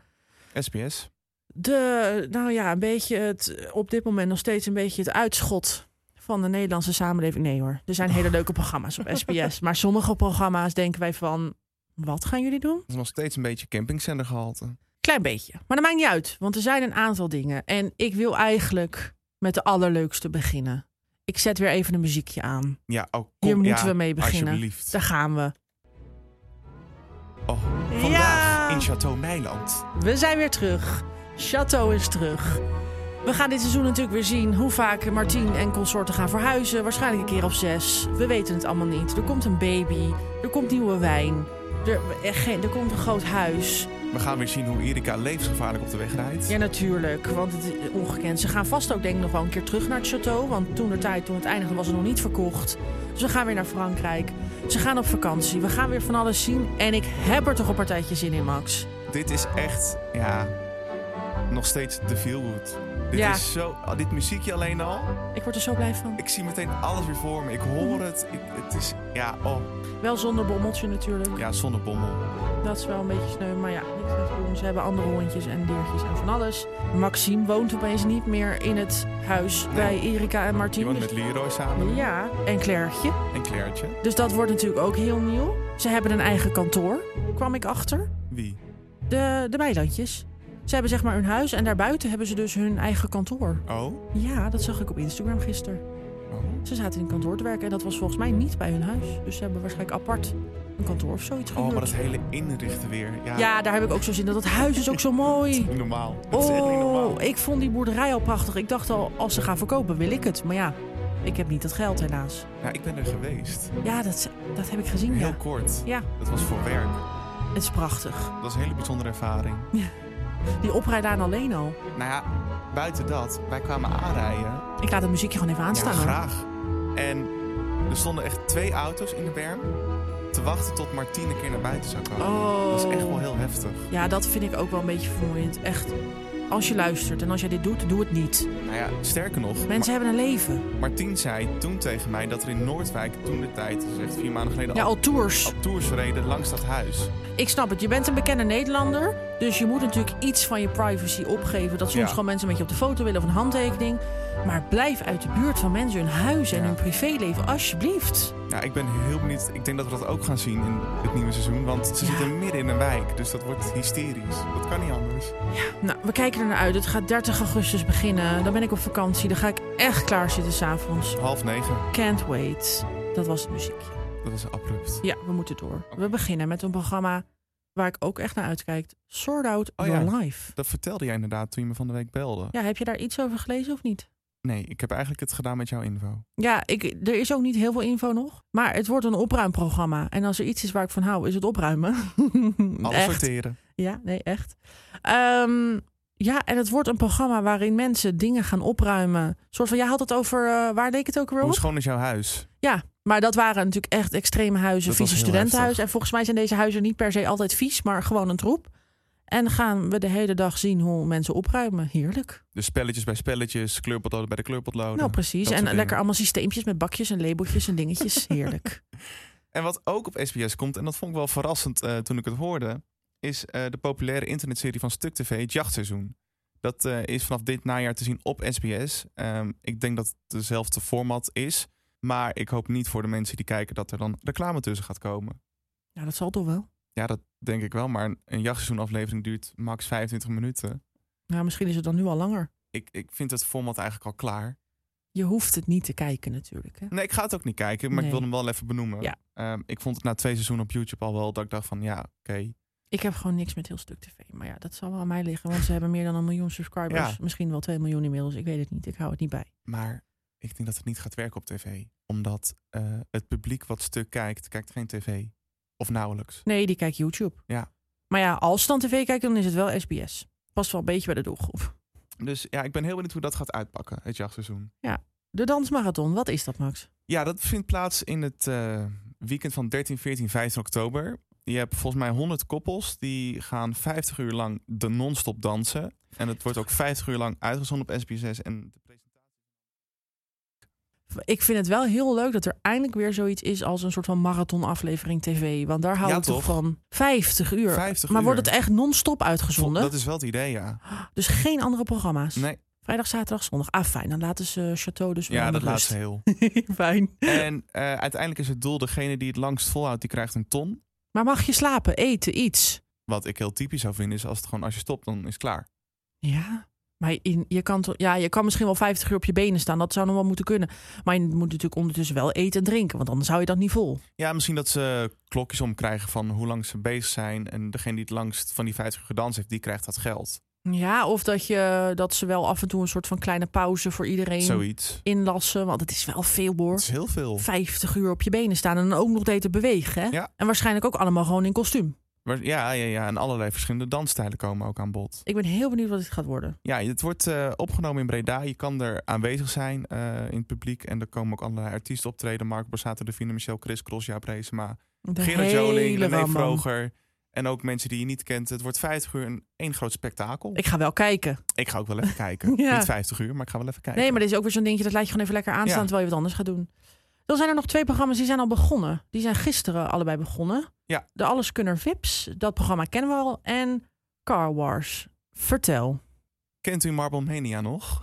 S2: eh,
S1: SBS.
S2: De, nou ja, een beetje het, op dit moment nog steeds een beetje het uitschot van de Nederlandse samenleving. Nee hoor, er zijn hele leuke programma's op SBS. Maar sommige programma's denken wij van, wat gaan jullie doen?
S1: Dat is nog steeds een beetje campingzender gehalte.
S2: Klein beetje. Maar dat maakt niet uit, want er zijn een aantal dingen. En ik wil eigenlijk met de allerleukste beginnen. Ik zet weer even een muziekje aan.
S1: Ja, oh, kom,
S2: Hier moeten
S1: ja,
S2: we mee beginnen.
S1: Alsjeblieft.
S2: Daar gaan we.
S1: Oh, vandaag
S2: Ja.
S1: in Château Nijland.
S2: We zijn weer terug. Chateau is terug. We gaan dit seizoen natuurlijk weer zien hoe vaak Martien en consorten gaan verhuizen. Waarschijnlijk een keer op zes. We weten het allemaal niet. Er komt een baby. Er komt nieuwe wijn. Er, eh, geen- er komt een groot huis.
S1: We gaan weer zien hoe Erika levensgevaarlijk op de weg rijdt.
S2: Ja, natuurlijk, want het is ongekend. Ze gaan vast ook denk ik nog wel een keer terug naar het château. Want toen de tijd, toen het eindigde, was het nog niet verkocht. Ze gaan weer naar Frankrijk. Ze gaan op vakantie. We gaan weer van alles zien. En ik heb er toch een partijtje zin in, Max.
S1: Dit is echt, ja, nog steeds de feelgood. Dit
S2: Ja.
S1: is zo, oh, dit muziekje alleen al.
S2: Ik word er zo blij van.
S1: Ik zie meteen alles weer voor me. Ik hoor het. Ik- het is, ja, oh,
S2: Wel zonder bommeltje natuurlijk.
S1: ja, zonder bommel.
S2: Dat is wel een beetje sneu, maar ja, niks aan te doen. Ze hebben andere hondjes en diertjes en van alles. Maxime woont opeens niet meer in het huis bij Erika en
S1: Je
S2: Martien.
S1: woont met Leroy samen
S2: Ja, en Clairtje.
S1: en Clairtje.
S2: Dus dat wordt natuurlijk ook heel nieuw. Ze hebben een eigen kantoor, kwam ik achter.
S1: Wie?
S2: De, de Meilandjes. Ze hebben zeg maar hun huis en daarbuiten hebben ze dus hun eigen kantoor.
S1: Oh,
S2: Ja, dat zag ik op Instagram gisteren.
S1: oh.
S2: Ze zaten in een kantoor te werken en dat was volgens mij niet bij hun huis. Dus ze hebben waarschijnlijk apart een kantoor of zoiets
S1: Oh,
S2: gehuurd.
S1: maar dat hele inrichten weer. Ja,
S2: Ja, daar heb ik ook zo zin in. Dat huis is ook zo mooi.
S1: niet normaal. Het is echt niet normaal.
S2: Oh, ik vond die boerderij al prachtig. Ik dacht al, als ze gaan verkopen, wil ik het. Maar ja, ik heb niet dat geld helaas.
S1: Ja, ik ben er geweest.
S2: Ja, dat, dat heb ik gezien,
S1: Heel
S2: ja.
S1: kort.
S2: Ja,
S1: Dat was voor werk.
S2: het is prachtig.
S1: Dat was een hele bijzondere ervaring.
S2: Die oprijlaan alleen al.
S1: Nou ja, buiten dat, wij kwamen aanrijden.
S2: Ik laat het muziekje gewoon even
S1: Ja,
S2: aanstaan. hoor.
S1: graag. En er stonden echt twee auto's in de berm te wachten tot Martien een keer naar buiten zou komen.
S2: Oh.
S1: Dat is echt wel heel heftig.
S2: Ja, dat vind ik ook wel een beetje vermoeiend. Echt, als je luistert en als jij dit doet, doe het niet.
S1: Nou ja, sterker nog, Ma-
S2: Mensen hebben een leven.
S1: Martien zei toen tegen mij dat er in Noordwijk toen de tijd, dus echt vier maanden geleden,
S2: Ja, al tours.
S1: al tours reden langs dat huis.
S2: Ik snap het, je bent een bekende Nederlander. Dus je moet natuurlijk iets van je privacy opgeven. Dat soms
S1: Ja.
S2: gewoon mensen met je op de foto willen of een handtekening. Maar blijf uit de buurt van mensen hun huis en
S1: Ja.
S2: hun privéleven, alsjeblieft.
S1: Nou, ik ben heel benieuwd. Ik denk dat we dat ook gaan zien in het nieuwe seizoen, want ze
S2: Ja.
S1: zitten midden in een wijk, dus dat wordt hysterisch. Dat kan niet anders.
S2: Nou, we kijken er naar uit. Het gaat 30 augustus beginnen. Dan ben ik op vakantie. Dan ga ik echt klaar zitten s'avonds.
S1: Half negen,
S2: Can't wait. Dat was het muziekje.
S1: dat was abrupt.
S2: Ja, we moeten door. We beginnen met een programma waar ik ook echt naar uitkijk. Sort Out
S1: Oh
S2: Your
S1: ja.
S2: Life.
S1: Dat vertelde jij inderdaad toen je me van de week belde.
S2: Ja, heb je daar iets over gelezen of niet?
S1: Nee, ik heb eigenlijk het gedaan met jouw info.
S2: Ja, ik, er is ook niet heel veel info nog. Maar het wordt een opruimprogramma. En als er iets is waar ik van hou, is het opruimen. *laughs*
S1: Alles
S2: echt.
S1: sorteren.
S2: Ja, nee, echt. Ehm, ja, en het wordt een programma waarin mensen dingen gaan opruimen. Een soort van, jij had het over, eh, waar leek het ook weer
S1: Hoe
S2: op?
S1: schoon is jouw huis?
S2: Ja, maar dat waren natuurlijk echt extreme huizen,
S1: Dat was
S2: vieze
S1: heel heftig.
S2: studentenhuizen. En volgens mij zijn deze huizen niet per se altijd vies, maar gewoon een troep. En gaan we de hele dag zien hoe mensen opruimen. Heerlijk.
S1: Dus spelletjes bij spelletjes, kleurpotloden bij de kleurpotloden.
S2: nou, precies.
S1: Oh, dat
S2: En
S1: soort
S2: lekker
S1: dingen.
S2: allemaal systeempjes met bakjes en labeltjes en dingetjes. Heerlijk. *laughs*
S1: En wat ook op SBS komt, en dat vond ik wel verrassend eh, toen ik het hoorde, is eh, de populaire internetserie van Stuk TV, Het Jachtseizoen. Dat eh, is vanaf dit najaar te zien op SBS. Ehm, ik denk dat het dezelfde format is, maar ik hoop niet voor de mensen die kijken dat er dan reclame tussen gaat komen.
S2: Nou, dat zal toch wel.
S1: Ja, dat denk ik wel, maar een, een jachtseizoenaflevering duurt max 25 minuten.
S2: Nou, misschien is het dan nu al langer.
S1: Ik, ik vind het format eigenlijk al klaar.
S2: Je hoeft het niet te kijken natuurlijk. Hè?
S1: Nee, ik ga het ook niet kijken, maar
S2: Nee.
S1: ik wilde hem wel even benoemen.
S2: Ja.
S1: Ehm, ik vond het na twee seizoenen op YouTube al wel dat ik dacht van ja, oké.
S2: Ik heb gewoon niks met heel stuk tv. Maar ja, dat zal wel aan mij liggen. Want ze hebben meer dan een miljoen subscribers.
S1: Ja.
S2: Misschien wel twee miljoen inmiddels. Ik weet het niet. Ik hou het niet bij.
S1: Maar ik denk dat het niet gaat werken op tv. Omdat eh, het publiek wat stuk kijkt, kijkt geen tv. Of nauwelijks.
S2: Nee, die kijkt YouTube.
S1: Ja.
S2: Maar ja, als ze dan tv kijkt, dan is het wel SBS. Past wel een beetje bij de doelgroep.
S1: Dus ja, ik ben heel benieuwd hoe dat gaat uitpakken, het jachtseizoen.
S2: De dansmarathon, wat is dat, Max?
S1: Ja, dat vindt plaats in het eh, weekend van 13, 14, 15 oktober. Je hebt volgens mij 100 koppels die gaan 50 uur lang de non-stop dansen. En het wordt ook 50 uur lang uitgezonden op SBS6. En
S2: Ik vind het wel heel leuk dat er eindelijk weer zoiets is als een soort van marathonaflevering tv. Want daar hou
S1: Ja,
S2: ik toch
S1: toch?
S2: van. 50 uur.
S1: 50
S2: maar
S1: uur.
S2: wordt het echt non-stop uitgezonden?
S1: Dat is wel het idee, ja.
S2: Dus geen andere programma's?
S1: Nee,
S2: Vrijdag, zaterdag, zondag. Ah, fijn. Dan laten ze eh, Chateau dus
S1: ja, dat laatste
S2: laatste.
S1: heel.
S2: *laughs* fijn.
S1: En eh, uiteindelijk is het doel, degene die het langst volhoudt, die krijgt een ton.
S2: Maar mag je slapen, eten, iets?
S1: Wat ik heel typisch zou vinden is als het gewoon als je stopt, dan is het klaar.
S2: Ja, maar in, je, kan toch, ja, je kan misschien wel 50 uur op je benen staan. Dat zou nog wel moeten kunnen. Maar je moet natuurlijk ondertussen wel eten en drinken. Want anders hou je dat niet vol.
S1: Ja, misschien dat ze klokjes omkrijgen van hoe lang ze bezig zijn. En degene die het langst van die 50 uur gedanst heeft, die krijgt dat geld.
S2: Ja, of dat, je, dat ze wel af en toe een soort van kleine pauze voor iedereen
S1: Zoiets.
S2: inlassen. Want het is wel veel hoor.
S1: Het is heel veel.
S2: 50 uur op je benen staan en dan ook nog te bewegen. Hè?
S1: Ja.
S2: En waarschijnlijk ook allemaal gewoon in kostuum.
S1: Maar ja, ja, ja, en allerlei verschillende dansstijlen komen ook aan bod.
S2: Ik ben heel benieuwd wat dit gaat worden.
S1: Ja, het wordt eh, opgenomen in Breda. Je kan er aanwezig zijn eh, in het publiek. En er komen ook allerlei artiesten optreden. Marco Borsato, Davina Michel, Chris Cross, Jaap Reesema,
S2: De
S1: Gerard Joling,
S2: hele
S1: René
S2: ramam.
S1: Vroger. En ook mensen die je niet kent. Het wordt 50 uur een één groot spektakel.
S2: Ik ga wel kijken.
S1: Ik ga ook wel
S2: *laughs*
S1: even kijken.
S2: Ja.
S1: Niet 50 uur, maar ik ga wel even kijken.
S2: Nee, maar dit is ook weer zo'n dingetje. Dat laat je gewoon even lekker aanstaan
S1: Ja.
S2: terwijl je wat anders gaat doen. Dan zijn er nog twee programma's die zijn al begonnen. Die zijn gisteren allebei begonnen.
S1: Ja.
S2: De Alleskunner Vips, dat programma kennen we al. En Car Wars. Vertel. *laughs*
S1: Kent u Marble Mania nog?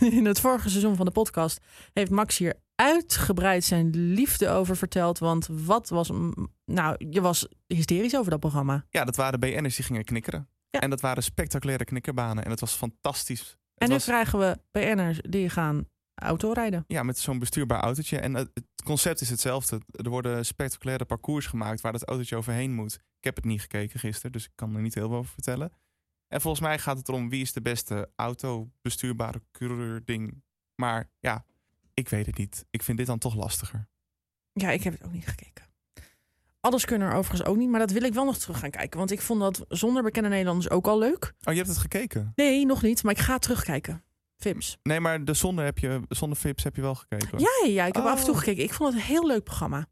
S2: In het vorige seizoen van de podcast heeft Max hier uitgebreid zijn liefde over verteld. Want wat was... hem- Nou, je was hysterisch over dat programma.
S1: Ja, dat waren BN'ers die gingen knikkeren.
S2: Ja.
S1: En dat waren spectaculaire knikkerbanen. En het was fantastisch. Het
S2: En nu
S1: was-
S2: krijgen we BN'ers die gaan autorijden.
S1: Ja, met zo'n bestuurbaar autootje. En eh, het concept is hetzelfde. Er worden spectaculaire parcours gemaakt waar dat autootje overheen moet. Ik heb het niet gekeken gisteren, dus ik kan er niet heel veel over vertellen. En volgens mij gaat het erom wie is de beste auto bestuurbare coureur ding. Maar ja, ik weet het niet. Ik vind dit dan toch lastiger.
S2: Ja, ik heb het ook niet gekeken. Alles kunnen er overigens ook niet, maar dat wil ik wel nog terug gaan kijken. Want ik vond dat zonder bekende Nederlanders ook al leuk.
S1: Oh, je hebt het gekeken?
S2: Nee, nog niet, maar ik ga terugkijken. Vips.
S1: Nee, maar de zonder, heb je, zonder Vips heb je wel gekeken.
S2: Ja, ja, ja, ik heb
S1: Oh.
S2: af en toe gekeken. Ik vond het een heel leuk programma.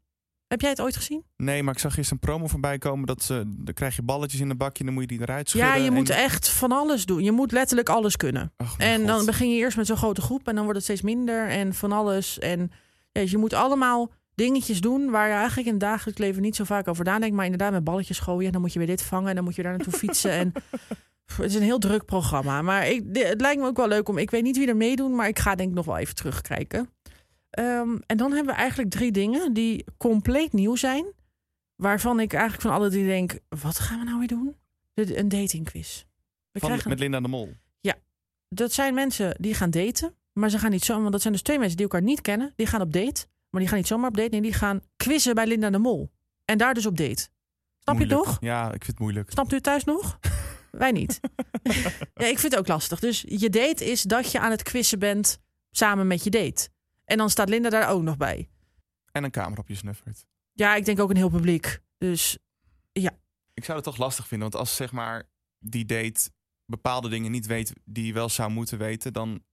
S2: Heb jij het ooit gezien?
S1: Nee, maar ik zag gisteren een promo voorbij komen. Dat ze, dan krijg je balletjes in een bakje en dan moet je die eruit schudden.
S2: ja, je
S1: en-
S2: moet echt van alles doen. Je moet letterlijk alles kunnen.
S1: Ach, mijn
S2: En dan
S1: God.
S2: begin je eerst met zo'n grote groep en dan wordt het steeds minder en van alles. En ja, dus je moet allemaal dingetjes doen waar je eigenlijk in het dagelijks leven niet zo vaak over nadenkt. Maar inderdaad met balletjes gooien en dan moet je weer dit vangen en dan moet je
S1: *laughs*
S2: daar naartoe fietsen. En pff, het is een heel druk programma. Maar ik, di- het lijkt me ook wel leuk om, ik weet niet wie er meedoen, maar ik ga denk ik nog wel even terugkijken. Ehm, en dan hebben we eigenlijk drie dingen die compleet nieuw zijn. Waarvan ik eigenlijk van alle drie denk, wat gaan we nou weer doen? De- een datingquiz. We
S1: Van-
S2: krijgen
S1: Met Linda de Mol.
S2: dat zijn mensen die gaan daten. Maar ze gaan niet zomaar, want dat zijn dus twee mensen die elkaar niet kennen. Die gaan op date, maar die gaan niet zomaar op date. Nee, die gaan quizzen bij Linda de Mol. En daar dus op date. Snap Snap je
S1: moeilijk.
S2: toch?
S1: Ja, ik vind het moeilijk.
S2: Snapt u het thuis
S1: *laughs*
S2: nog? Wij niet. ja, ik vind het ook lastig. Dus je date is dat je aan het quizzen bent samen met je date. En dan staat Linda daar ook nog bij.
S1: En een camera op je snuffert.
S2: Ja, ik denk ook een heel publiek. Dus
S1: Ik zou het toch lastig vinden, want als zeg maar die date bepaalde dingen niet weet die je wel zou moeten weten, dan.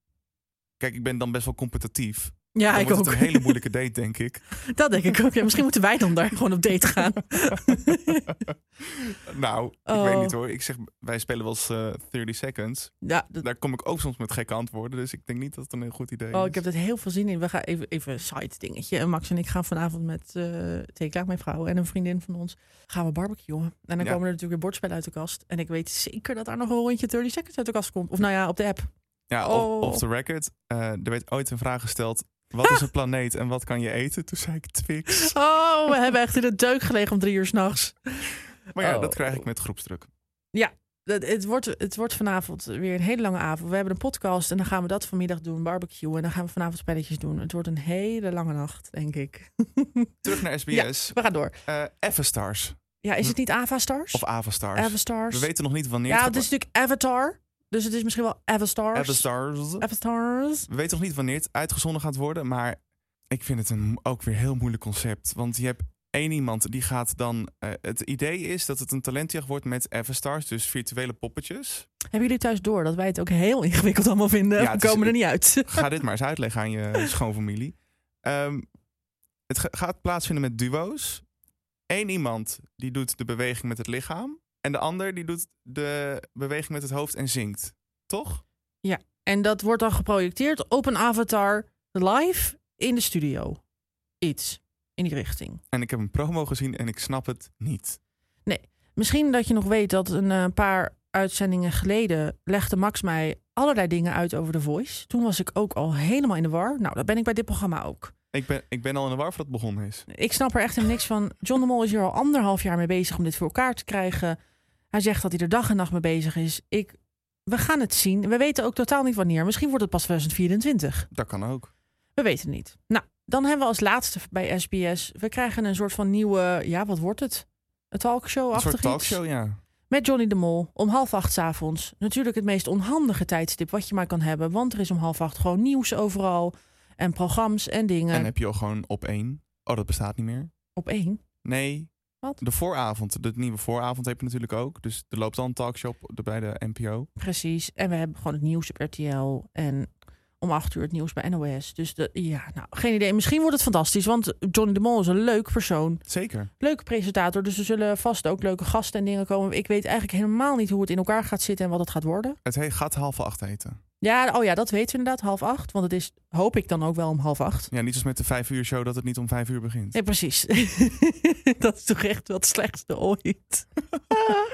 S1: Kijk, ik ben dan best wel competitief.
S2: ja,
S1: dan
S2: ik
S1: wordt
S2: ook.
S1: het een hele moeilijke date, denk ik.
S2: *laughs* Dat denk ik ook. Ja, misschien moeten wij dan daar gewoon op date
S1: *laughs*
S2: gaan.
S1: Nou, ik
S2: Oh.
S1: weet niet hoor. Ik zeg, wij spelen wel eens eh, 30 seconds.
S2: Ja, dat-
S1: Daar kom ik ook soms met gekke antwoorden, dus ik denk niet dat het een heel goed idee
S2: oh,
S1: is.
S2: ik heb er heel veel zin in. We gaan even, even een side dingetje. En Max en ik gaan vanavond met eh Tekla, mijn vrouw en een vriendin van ons, gaan we barbecuen. En dan
S1: Ja.
S2: komen er natuurlijk weer bordspellen uit de kast. En ik weet zeker dat daar nog een rondje 30 seconds uit de kast komt. Of nou ja, op de app.
S1: Ja,
S2: Oh. Ah!
S1: off, off the record. Eh, er werd ooit een vraag gesteld. Wat is een planeet en wat kan je eten? Toen zei ik Twix.
S2: Oh, *laughs* we hebben echt in de deuk gelegen om drie uur s'nachts.
S1: Maar ja,
S2: Oh.
S1: dat krijg ik met groepsdruk.
S2: Het, het, wordt, het wordt vanavond weer een hele lange avond. We hebben een podcast en dan gaan we dat vanmiddag doen, barbecue. En dan gaan we vanavond spelletjes doen. Het wordt een hele lange nacht, denk ik. *laughs*
S1: Terug naar SBS.
S2: We gaan door.
S1: Eh Stars
S2: Ja, is het niet Avastars?
S1: of Avastars.
S2: Hm. Avastars.
S1: We weten nog niet wanneer
S2: ja,
S1: het
S2: het
S1: gaat-
S2: is natuurlijk Avatar. Dus het is misschien wel Avastars.
S1: Avastars.
S2: Avastars.
S1: We weten nog niet wanneer het uitgezonden gaat worden, maar ik vind het een, ook weer heel moeilijk concept. Want je hebt één iemand die gaat dan. eh, het idee is dat het een talentjacht wordt met Everstars, dus virtuele poppetjes.
S2: Hebben jullie thuis door dat wij het ook heel *laughs* ingewikkeld allemaal vinden?
S1: Ja,
S2: we
S1: het is-
S2: komen er niet uit.
S1: Ga dit maar eens uitleggen aan je schoonfamilie. Ehm, het ga- gaat plaatsvinden met duo's. Eén iemand die doet de beweging met het lichaam. En de ander die doet de beweging met het hoofd en zingt. Toch?
S2: En dat wordt dan geprojecteerd op een avatar live in de studio. Iets in die richting.
S1: En ik heb een promo gezien en ik snap het niet.
S2: Misschien dat je nog weet dat een eh, paar uitzendingen geleden legde Max mij allerlei dingen uit over The Voice. Toen was ik ook al helemaal in de war. Nou, dat ben ik bij dit programma ook.
S1: Ik ben, ik ben al in de war voordat het begonnen is.
S2: Ik snap er echt helemaal niks van. John de Mol is hier al anderhalf jaar mee bezig om dit voor elkaar te krijgen. Hij zegt dat hij er dag en nacht mee bezig is. Ik, we gaan het zien. We weten ook totaal niet wanneer. Misschien wordt het pas 2024.
S1: Dat kan ook.
S2: We weten het niet. Nou, dan hebben we als laatste bij SBS... we krijgen een soort van nieuwe... ja, wat wordt het? Een
S1: Een
S2: talkshow-achtig
S1: soort
S2: iets?
S1: talkshow, ja.
S2: Met Johnny de Mol om half acht 's avonds. Natuurlijk het meest onhandige tijdstip wat je maar kan hebben. Want er is om half acht gewoon nieuws overal. En programma's en dingen.
S1: En heb je al gewoon op één. Oh, dat bestaat niet meer.
S2: Op één.
S1: Nee.
S2: Wat?
S1: De vooravond. De nieuwe vooravond heb je natuurlijk ook. Dus er loopt dan een talkshow op de- bij de NPO.
S2: Precies. En we hebben gewoon het nieuws op RTL. En om acht uur het nieuws bij NOS. Dus de, ja, nou, geen idee. Misschien wordt het fantastisch. Want Johnny de Mol is een leuk persoon.
S1: Zeker.
S2: Leuke presentator. Dus er zullen vast ook leuke gasten en dingen komen. Ik weet eigenlijk helemaal niet hoe het in elkaar gaat zitten en wat het gaat worden.
S1: Het he- gaat half acht heten.
S2: Ja, oh ja, dat weten we inderdaad. Half acht. Want het is, hoop ik dan ook wel om half acht.
S1: Ja, niet als met de vijf uur show dat het niet om vijf uur begint.
S2: Nee, precies. *laughs* dat is toch echt wel het slechtste ooit. *laughs*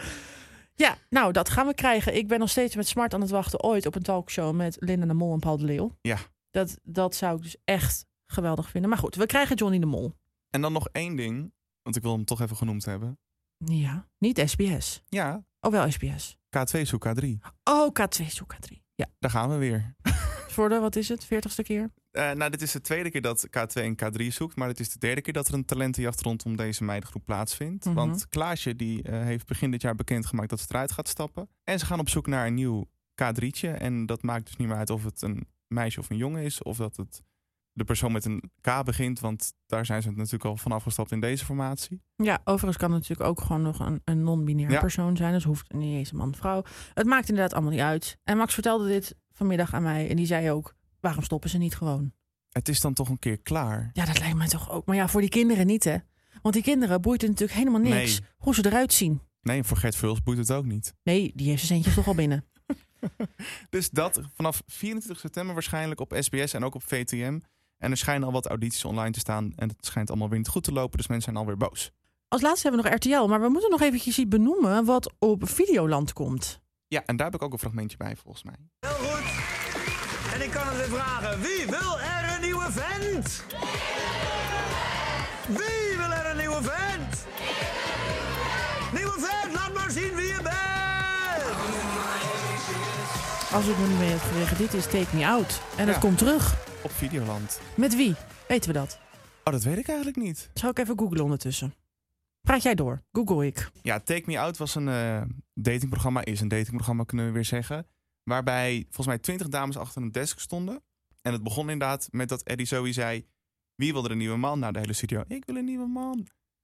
S2: ja, nou, dat gaan we krijgen. Ik ben nog steeds met smart aan het wachten ooit op een talkshow met Linda de Mol en Paul de Leeuw.
S1: Ja.
S2: Dat, dat zou ik dus echt geweldig vinden. Maar goed, we krijgen Johnny de Mol.
S1: En dan nog één ding. Want ik wil hem toch even genoemd hebben.
S2: Ja, niet SBS.
S1: Ja,
S2: Oh, wel SBS.
S1: K2 zoek K3.
S2: Oh, K2 zoek K3. Ja,
S1: Daar gaan we weer.
S2: voor de, wat is het, veertigste keer?
S1: Eh, nou, dit is de tweede keer dat K2 en K3 zoekt. Maar het is de derde keer dat er een talentenjacht rondom deze meidengroep plaatsvindt.
S2: Mhm.
S1: Want Klaasje die, eh, heeft begin dit jaar bekendgemaakt dat ze eruit gaat stappen. En ze gaan op zoek naar een nieuw K3'tje. En dat maakt dus niet meer uit of het een meisje of een jongen is. Of dat het de persoon met een K begint. Want daar zijn ze natuurlijk al van afgestapt in deze formatie.
S2: Ja, overigens kan het natuurlijk ook gewoon nog een, een non-binair
S1: Ja.
S2: persoon zijn. Dus hoeft niet eens een man of vrouw. Het maakt inderdaad allemaal niet uit. En Max vertelde dit vanmiddag aan mij. En die zei ook, waarom stoppen ze niet gewoon?
S1: Het is dan toch een keer klaar.
S2: Ja, dat lijkt mij toch ook. Maar ja, voor die kinderen niet, hè? Want die kinderen boeit het natuurlijk helemaal niks
S1: Nee.
S2: hoe ze eruit zien.
S1: Nee, voor Gert Vuls boeit het ook niet.
S2: Nee, die heeft zijn centjes toch al binnen.
S1: Dus dat vanaf 24 september waarschijnlijk op SBS en ook op VTM. En er schijnen al wat audities online te staan. En het schijnt allemaal weer niet goed te lopen. Dus mensen zijn alweer boos.
S2: Als laatste hebben we nog RTL. Maar we moeten nog eventjes iets benoemen wat op Videoland komt.
S1: Ja, en daar heb ik ook een fragmentje bij volgens mij.
S3: Heel goed. En ik kan het weer vragen. Wie wil er een nieuwe vent? Wie wil er een nieuwe vent? Nieuwe vent, laat maar zien wie je bent.
S2: Als ik me niet mee heb gekregen, dit is Take Me Out. En het
S1: Ja.
S2: komt terug.
S1: Op Videoland.
S2: Met wie? Weten we dat?
S1: Oh, dat weet ik eigenlijk niet.
S2: Zal ik even googlen ondertussen? Praat jij door. Google ik.
S1: Ja, Take Me Out was een eh, datingprogramma, is een datingprogramma kunnen we weer zeggen. Waarbij volgens mij twintig dames achter een desk stonden. En het begon inderdaad met dat Eddie Zoe zei, wie wil er een nieuwe man? Nou, de hele studio, ik wil een nieuwe man.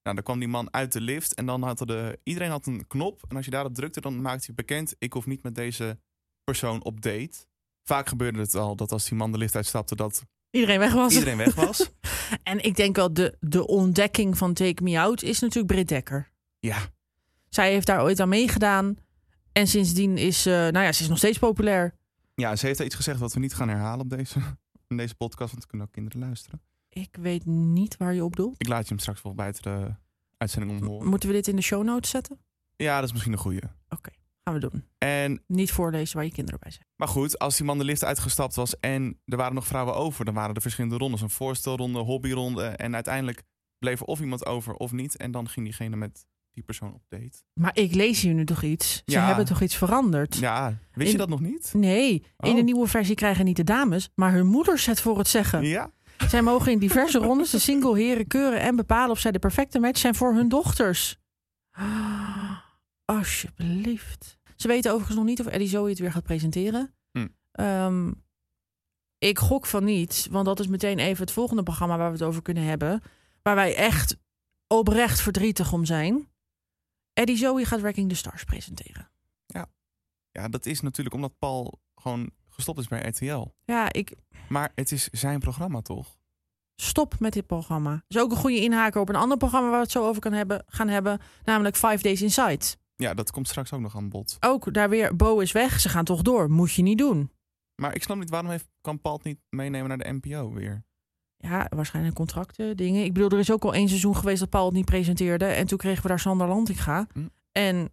S1: Nou, dan kwam die man uit de lift en dan had er de, iedereen had een knop. En als je daarop drukte, dan maakte hij bekend, ik hoef niet met deze persoon op date. Vaak gebeurde het al dat als die man de lift uitstapte, dat
S2: Iedereen weg was.
S1: iedereen weg was.
S2: *laughs* En ik denk wel, de, de ontdekking van Take Me Out is natuurlijk Britt Dekker.
S1: Ja,
S2: Zij heeft daar ooit aan meegedaan. En sindsdien is ze, nou ja, ze is nog steeds populair.
S1: ja, ze heeft daar iets gezegd wat we niet gaan herhalen op deze, in deze podcast, want er kunnen ook kinderen luisteren.
S2: Ik weet niet waar je op doelt.
S1: Ik laat je hem straks wel buiten de uitzending om horen.
S2: Moeten we dit in de show notes zetten?
S1: Ja, dat is misschien een goeie.
S2: Gaan we doen.
S1: En,
S2: Niet voorlezen waar je kinderen bij zijn.
S1: maar goed, als die man de lift uitgestapt was en er waren nog vrouwen over, dan waren er verschillende rondes. Een voorstelronde, hobbyronde en uiteindelijk bleef er of iemand over of niet. En dan ging diegene met die persoon op date.
S2: Maar ik lees hier nu toch iets? Ze
S1: Ja.
S2: hebben toch iets veranderd?
S1: Ja, wist je
S2: In-
S1: dat nog niet?
S2: Nee, in de
S1: Oh.
S2: nieuwe versie krijgen niet de dames, maar hun moeders het voor het zeggen.
S1: Ja,
S2: Zij mogen in diverse rondes de single heren keuren en bepalen of zij de perfecte match zijn voor hun dochters. *gasps* Ah, Alsjeblieft. Ze weten overigens nog niet of Eddie Zoe het weer gaat presenteren.
S1: Hm.
S2: Ehm, ik gok van niet, want dat is meteen even het volgende programma waar we het over kunnen hebben. Waar wij echt oprecht verdrietig om zijn. Eddie Zoe gaat Wrecking the Stars presenteren.
S1: ja, dat is natuurlijk omdat Paul gewoon gestopt is bij RTL.
S2: Ja, ik
S1: Maar het is zijn programma toch?
S2: stop met dit programma. Dat is ook een goede inhaker op een ander programma waar we het zo over kan hebben, gaan hebben. Namelijk Five Days Inside.
S1: Ja, dat komt straks ook nog aan bod.
S2: ook daar weer, Bo is weg, ze gaan toch door. Moet je niet doen.
S1: Maar ik snap niet, waarom heeft, kan Paul het niet meenemen naar de NPO weer?
S2: Ja, waarschijnlijk contracten, dingen. Ik bedoel, er is ook al één seizoen geweest dat Paul het niet presenteerde. En toen kregen we daar Sander Lantinga.
S1: Hm.
S2: En, *laughs*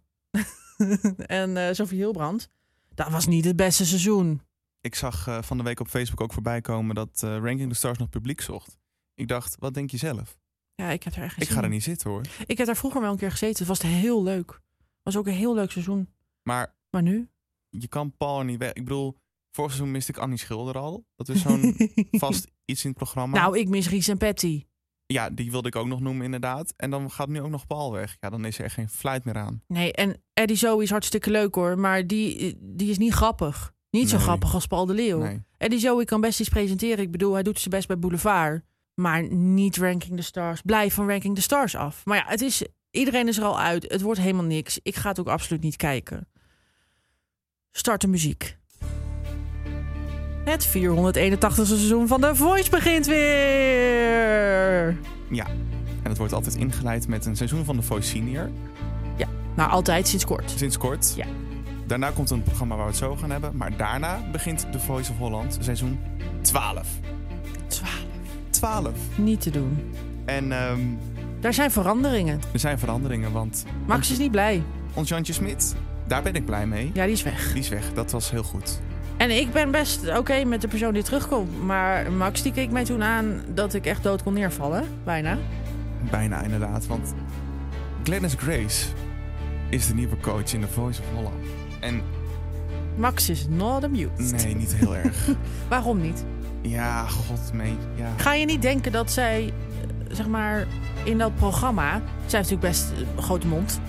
S2: en eh Sophie Hilbrand. Dat was niet het beste seizoen.
S1: Ik zag eh, van de week op Facebook ook voorbij komen dat eh, Ranking the Stars nog publiek zocht. Ik dacht, wat denk je zelf?
S2: Ja, ik heb er echt geen
S1: Ik
S2: zin
S1: ga er
S2: in.
S1: niet zitten hoor.
S2: Ik heb daar vroeger wel een keer gezeten. Het was heel leuk. was ook een heel leuk seizoen.
S1: Maar
S2: Maar nu?
S1: je kan Paul er niet weg. Ik bedoel, vorig seizoen miste ik Annie Schilder al. Dat is
S2: *laughs*
S1: zo'n vast iets in het programma.
S2: Nou, ik mis Ries en Patty.
S1: Ja, die wilde ik ook nog noemen inderdaad. En dan gaat nu ook nog Paul weg. Ja, dan is er echt geen fluit meer aan.
S2: Nee, en Eddie Zoe is hartstikke leuk hoor. Maar die, die is niet grappig. Niet zo
S1: Nee.
S2: grappig als Paul de Leeuw.
S1: Nee.
S2: Eddie Zoe kan best iets presenteren. Ik bedoel, hij doet zijn best bij Boulevard. Maar niet Ranking the Stars. Blijf van Ranking the Stars af. Maar ja, het is, iedereen is er al uit. Het wordt helemaal niks. Ik ga het ook absoluut niet kijken. Start de muziek. Het 481ste seizoen van The Voice begint weer.
S1: Ja, en het wordt altijd ingeleid met een seizoen van The Voice Senior.
S2: Nou, altijd sinds kort.
S1: Sinds kort.
S2: Ja.
S1: Daarna komt een programma waar we het zo gaan hebben. Maar daarna begint The Voice of Holland seizoen 12.
S2: 12.
S1: 12.
S2: Niet te doen.
S1: En ehm,
S2: Daar zijn veranderingen.
S1: er zijn veranderingen, want
S2: Max is niet blij.
S1: ons Jantje Smit, daar ben ik blij mee.
S2: Ja, die is weg.
S1: Die is weg, dat was heel goed.
S2: En ik ben best oké met de persoon die terugkomt. Maar Max die keek mij toen aan dat ik echt dood kon neervallen. Bijna.
S1: Bijna inderdaad, want Glennis Grace is de nieuwe coach in The Voice of Holland. En
S2: Max is not amused.
S1: nee, niet heel
S2: *laughs*
S1: erg.
S2: Waarom niet?
S1: Ja, god mee. Ja.
S2: Ga je niet denken dat zij, eh, zeg maar, in dat programma... Zij heeft natuurlijk best eh, een grote mond.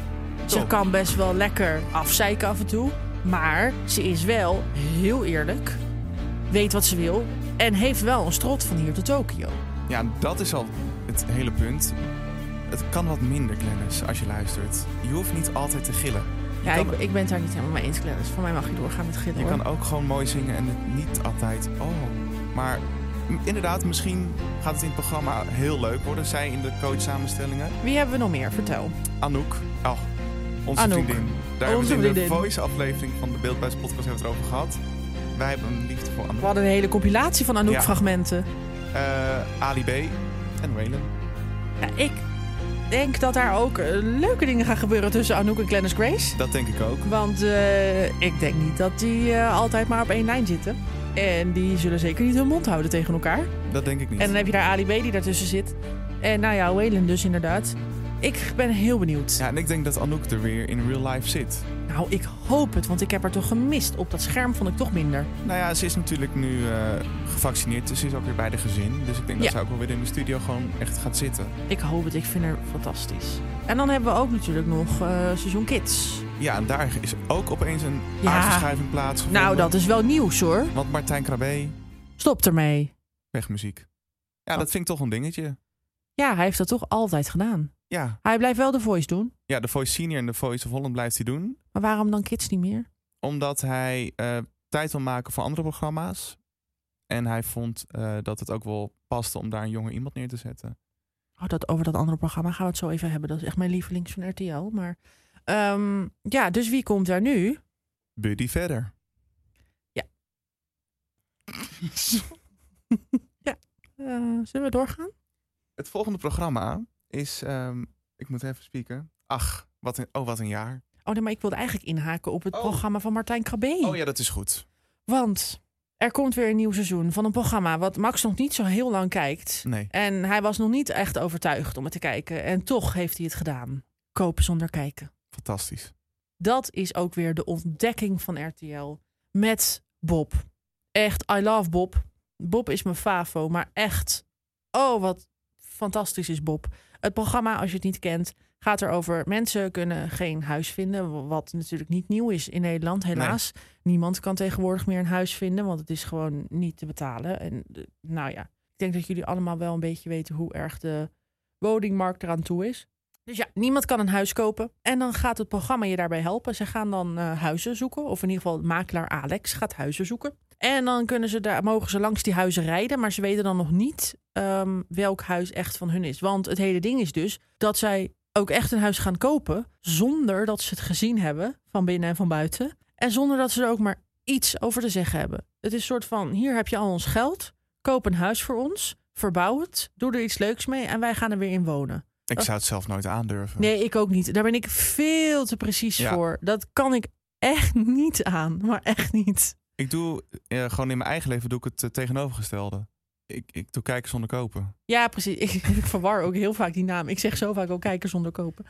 S2: Ze
S1: Toch.
S2: kan best wel lekker afzeiken af en toe. Maar ze is wel heel eerlijk. Weet wat ze wil. En heeft wel een strot van hier tot Tokio.
S1: ja, dat is al het hele punt. Het kan wat minder, Glennis, als je luistert. Je hoeft niet altijd te gillen. Je,
S2: Ja, ik,
S1: kan,
S2: ik ben het daar niet helemaal mee eens, Clarence. Voor mij mag je doorgaan met gillen,
S1: je
S2: hoor.
S1: kan ook gewoon mooi zingen en het niet altijd... Oh, maar m- inderdaad, misschien gaat het in het programma heel leuk worden. Zij in de coach-samenstellingen.
S2: Wie hebben we nog meer? Vertel.
S1: Anouk. Oh, onze
S2: Anouk.
S1: vriendin. Daar
S2: Onze
S1: hebben we het in de
S2: vriendin.
S1: voice-aflevering van de Beeldbuis podcast hebben we het over gehad. Wij hebben een liefde voor
S2: We
S1: Anouk.
S2: hadden een hele compilatie van
S1: Ja.
S2: Anouk-fragmenten.
S1: Eh, Ali B. en Waylon.
S2: Ja, ik denk dat daar ook eh, leuke dingen gaan gebeuren tussen Anouk en Glennis Grace.
S1: Dat denk ik ook.
S2: Want eh, ik denk niet dat die eh, altijd maar op één lijn zitten. En die zullen zeker niet hun mond houden tegen elkaar.
S1: Dat denk ik niet.
S2: En dan heb je daar Ali B die daartussen zit. En nou ja, Waylon dus inderdaad. Ik ben heel benieuwd.
S1: Ja, en ik denk dat Anouk er weer in real life zit.
S2: Nou, ik hoop het, want ik heb haar toch gemist. Op dat scherm vond ik toch minder.
S1: Nou ja, ze is natuurlijk nu eh, gevaccineerd, dus ze is ook weer bij de gezin. Dus ik denk
S2: Ja.
S1: dat ze ook wel weer in de studio gewoon echt gaat zitten.
S2: Ik hoop het, ik vind haar fantastisch. En dan hebben we ook natuurlijk nog eh, seizoen Kids.
S1: Ja, en daar is ook opeens een
S2: Ja.
S1: aardverschuiving plaatsgevonden.
S2: Nou, dat is wel nieuws hoor.
S1: Want Martijn Krabbe,
S2: Stop ermee.
S1: wegmuziek. Ja, dat vind ik toch een dingetje.
S2: Ja, hij heeft dat toch altijd gedaan.
S1: Ja,
S2: Hij blijft wel de voice doen.
S1: ja de Voice Senior en de Voice of Holland blijft hij doen.
S2: Maar waarom dan Kids niet meer?
S1: Omdat hij eh, tijd wil maken voor andere programma's. En hij vond eh, dat het ook wel paste om daar een jonger iemand neer te zetten.
S2: Oh, dat, over dat andere programma gaan we het zo even hebben. Dat is echt mijn lievelings van RTL. Maar ehm, ja, dus wie komt daar nu?
S1: Buddy verder. *laughs*
S2: Ja. Eh, zullen we doorgaan?
S1: Het volgende programma is. ehm, ik moet even spieken. Ach, wat een, oh, wat een jaar.
S2: Oh nee, maar ik wilde eigenlijk inhaken op het
S1: Oh.
S2: programma van Martijn Krabbe.
S1: Oh ja, dat is goed.
S2: Want er komt weer een nieuw seizoen van een programma wat Max nog niet zo heel lang kijkt.
S1: Nee.
S2: En hij was nog niet echt overtuigd om het te kijken. En toch heeft hij het gedaan. Kopen zonder kijken.
S1: Fantastisch.
S2: Dat is ook weer de ontdekking van RTL met Bob. Echt, I love Bob. Bob is mijn favo, maar echt, oh wat fantastisch is Bob. Het programma, als je het niet kent, gaat erover mensen kunnen geen huis vinden. Wat natuurlijk niet nieuw is in Nederland, helaas. Niemand kan tegenwoordig meer een huis vinden, want het is gewoon niet te betalen. En eh, nou ja, ik denk dat jullie allemaal wel een beetje weten hoe erg de woningmarkt eraan toe is. Dus ja, niemand kan een huis kopen. En dan gaat het programma je daarbij helpen. Ze gaan dan eh, huizen zoeken. Of in ieder geval makelaar Alex gaat huizen zoeken. En dan kunnen ze daar, mogen ze langs die huizen rijden. Maar ze weten dan nog niet ehm, welk huis echt van hun is. Want het hele ding is dus dat zij ook echt een huis gaan kopen. Zonder dat ze het gezien hebben van binnen en van buiten. En zonder dat ze er ook maar iets over te zeggen hebben. Het is een soort van, hier heb je al ons geld. Koop een huis voor ons. Verbouw het. Doe er iets leuks mee. En wij gaan er weer in wonen.
S1: Ik zou het zelf nooit aandurven.
S2: Oh. Nee, ik ook niet. Daar ben ik veel te precies
S1: Oh. Ja.
S2: voor. Dat kan ik echt *laughs* niet aan. Maar echt niet.
S1: Ik doe eh, gewoon in mijn eigen leven doe ik het eh, tegenovergestelde. Ik, ik doe kijken zonder kopen.
S2: Ja, precies. Ik, *laughs* ik verwar ook heel vaak die naam. Ik zeg zo vaak ook kijken zonder kopen.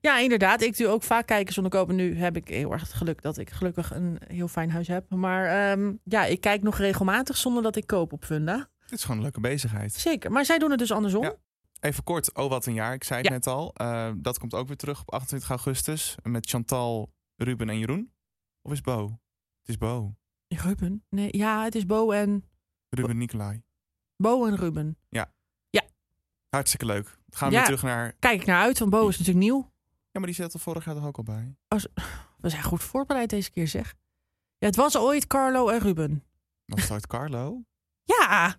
S2: Ja, inderdaad. Ik doe ook vaak kijken zonder kopen. Nu heb ik heel erg het geluk dat ik gelukkig een heel fijn huis heb. Maar ehm, ja, ik kijk nog regelmatig zonder dat ik koop op Funda.
S1: Het is gewoon een leuke bezigheid.
S2: Zeker. Maar zij doen het dus andersom.
S1: Ja. Even kort, oh wat een jaar. Ik zei het
S2: Ja.
S1: net al. Eh, dat komt ook weer terug op 28 augustus met Chantal, Ruben en Jeroen. Of is Bo? Het is Bo.
S2: Ruben? Nee, ja, het is Bo en,
S1: Ruben Nicolai.
S2: Bo en Ruben.
S1: Hartstikke leuk. Gaan we
S2: Ja.
S1: weer terug naar...
S2: Kijk ik naar uit, want Bo is natuurlijk nieuw.
S1: Ja, maar die zat er vorig jaar toch ook al bij?
S2: We zijn goed voorbereid deze keer, zeg. Ja, het was ooit Carlo en Ruben.
S1: Dan start Carlo.
S2: Ja,